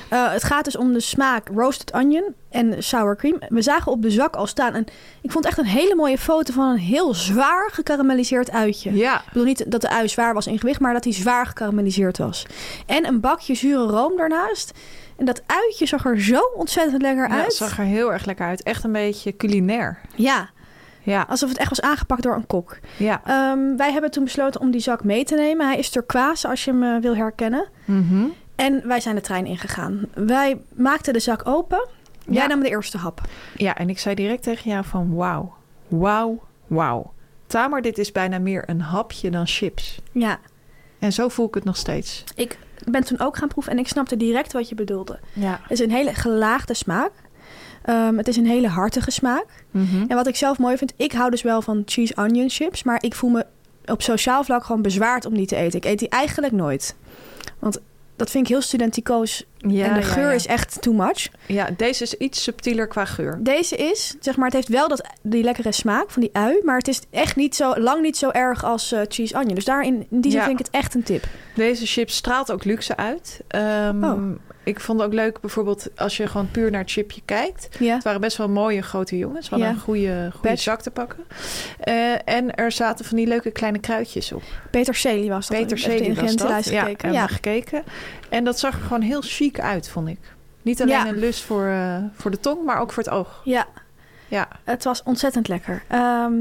Eh, het gaat dus om de smaak roasted onion en sour cream. We zagen op de zak al staan. En ik vond echt een hele mooie foto van een heel zwaar gekarameliseerd uitje. Ja, Ik bedoel niet dat de ui zwaar was in gewicht, maar dat hij zwaar gekarameliseerd was. En een bakje zure room daarnaast. En dat uitje zag er zo ontzettend lekker ja uit. zag er heel erg lekker uit. Echt een beetje culinair. Ja, Ja, alsof het echt was aangepakt door een kok. ja. Ehm, wij hebben toen besloten om die zak mee te nemen. Hij is turquoise, als je hem eh, wil herkennen. Mhm. En wij zijn de trein ingegaan. Wij maakten de zak open. Jij Ja. nam de eerste hap. Ja, en ik zei direct tegen jou van wauw, wauw, wauw. Tamer, dit is bijna meer een hapje dan chips. Ja, En zo voel ik het nog steeds. ik ben toen ook gaan proeven en ik snapte direct wat je bedoelde. Ja. Het is een hele gelaagde smaak. Ehm, het is een hele hartige smaak. Mhm. En wat ik zelf mooi vind, ik hou dus wel van cheese onion chips. Maar ik voel me op sociaal vlak gewoon bezwaard om die te eten. Ik eet die eigenlijk nooit. Want dat vind ik heel studenticoos. Ja, en de ja, geur ja. is echt too much. Ja, deze is iets subtieler qua geur. Deze is, zeg maar, het heeft wel dat, die lekkere smaak van die ui. Maar het is echt niet zo, lang niet zo erg als eh, cheese onion. Dus daarin, in die zin Ja. vind ik het echt een tip. Deze chips straalt ook luxe uit. Ehm, Oh. Ik vond het ook leuk bijvoorbeeld als je gewoon puur naar het chipje kijkt. Ja. Het waren best wel mooie grote jongens. We hadden Ja. een goede, goede Patch. zak te pakken. Eh, en er zaten van die leuke kleine kruidjes op. Peterselie was dat. Peter Ik heb de Selie was dat. ingrediëntenlijst Ja, gekeken. hebben Ja, we gekeken. En dat zag er gewoon heel chic uit, vond ik. Niet alleen Ja. een lust voor, eh, voor de tong, maar ook voor het oog. ja, Ja, het was ontzettend lekker. Ehm,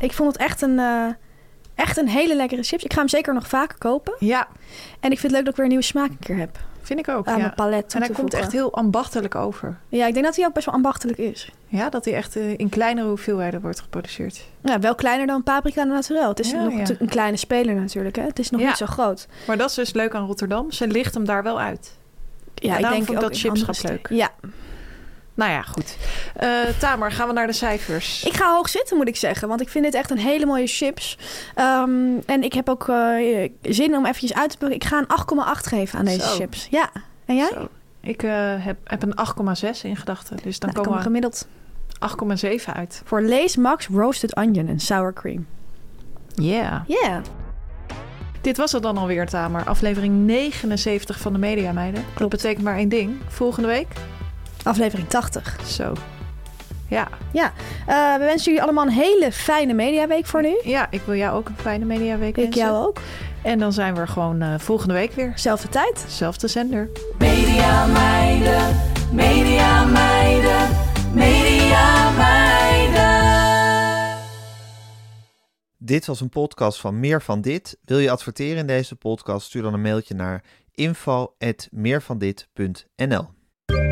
ik vond het echt een, eh, echt een hele lekkere chips. Ik ga hem zeker nog vaker kopen. ja En ik vind het leuk dat ik weer een nieuwe smaak een keer heb. Vind ik ook. aan ja. mijn palet toe En hij te komt voegen. echt heel ambachtelijk over. Ja, ik denk dat hij ook best wel ambachtelijk is. Ja, dat hij echt eh, in kleinere hoeveelheden wordt geproduceerd. Ja, wel kleiner dan paprika naturel. Het is Ja, nog ja. natuurlijk een kleine speler natuurlijk. Hè? Het is nog Ja. niet zo groot. Maar dat is dus leuk aan Rotterdam. Ze licht hem daar wel uit. Ja, daarom ik denk vond ik ook dat in chipschap andere leuk. steden. Ja, Nou ja, goed. Eh Tamer, gaan we naar de cijfers. ik ga hoog zitten moet ik zeggen. Want ik vind dit echt een hele mooie chips. Ehm, en ik heb ook eh, zin om eventjes uit te plukken. Ik ga een 8,8 geven aan deze Zo. chips. Ja, en jij? Zo. Ik eh, heb, heb een 8,6 in gedachten. Dus dan Nou, ik kom komen gemiddeld we 8,7 uit. voor Lees Max Roasted Onion en Sour Cream. Yeah. Ja, Dit was het dan alweer, Tamer. Aflevering 79 van de Media Meiden. Dat betekent maar één ding. Volgende week? aflevering 80. Zo. Ja. Eh, we wensen jullie allemaal een hele fijne mediaweek voor nu. ja, ik wil jou ook een fijne mediaweek Ik wensen. jou ook. En dan zijn we er gewoon eh, volgende week weer. Zelfde tijd. Zelfde zender. Media meiden, media meiden, media meiden. Dit was een podcast van Meer van Dit. Wil je adverteren in deze podcast? Stuur dan een mailtje naar info.meervandit.nl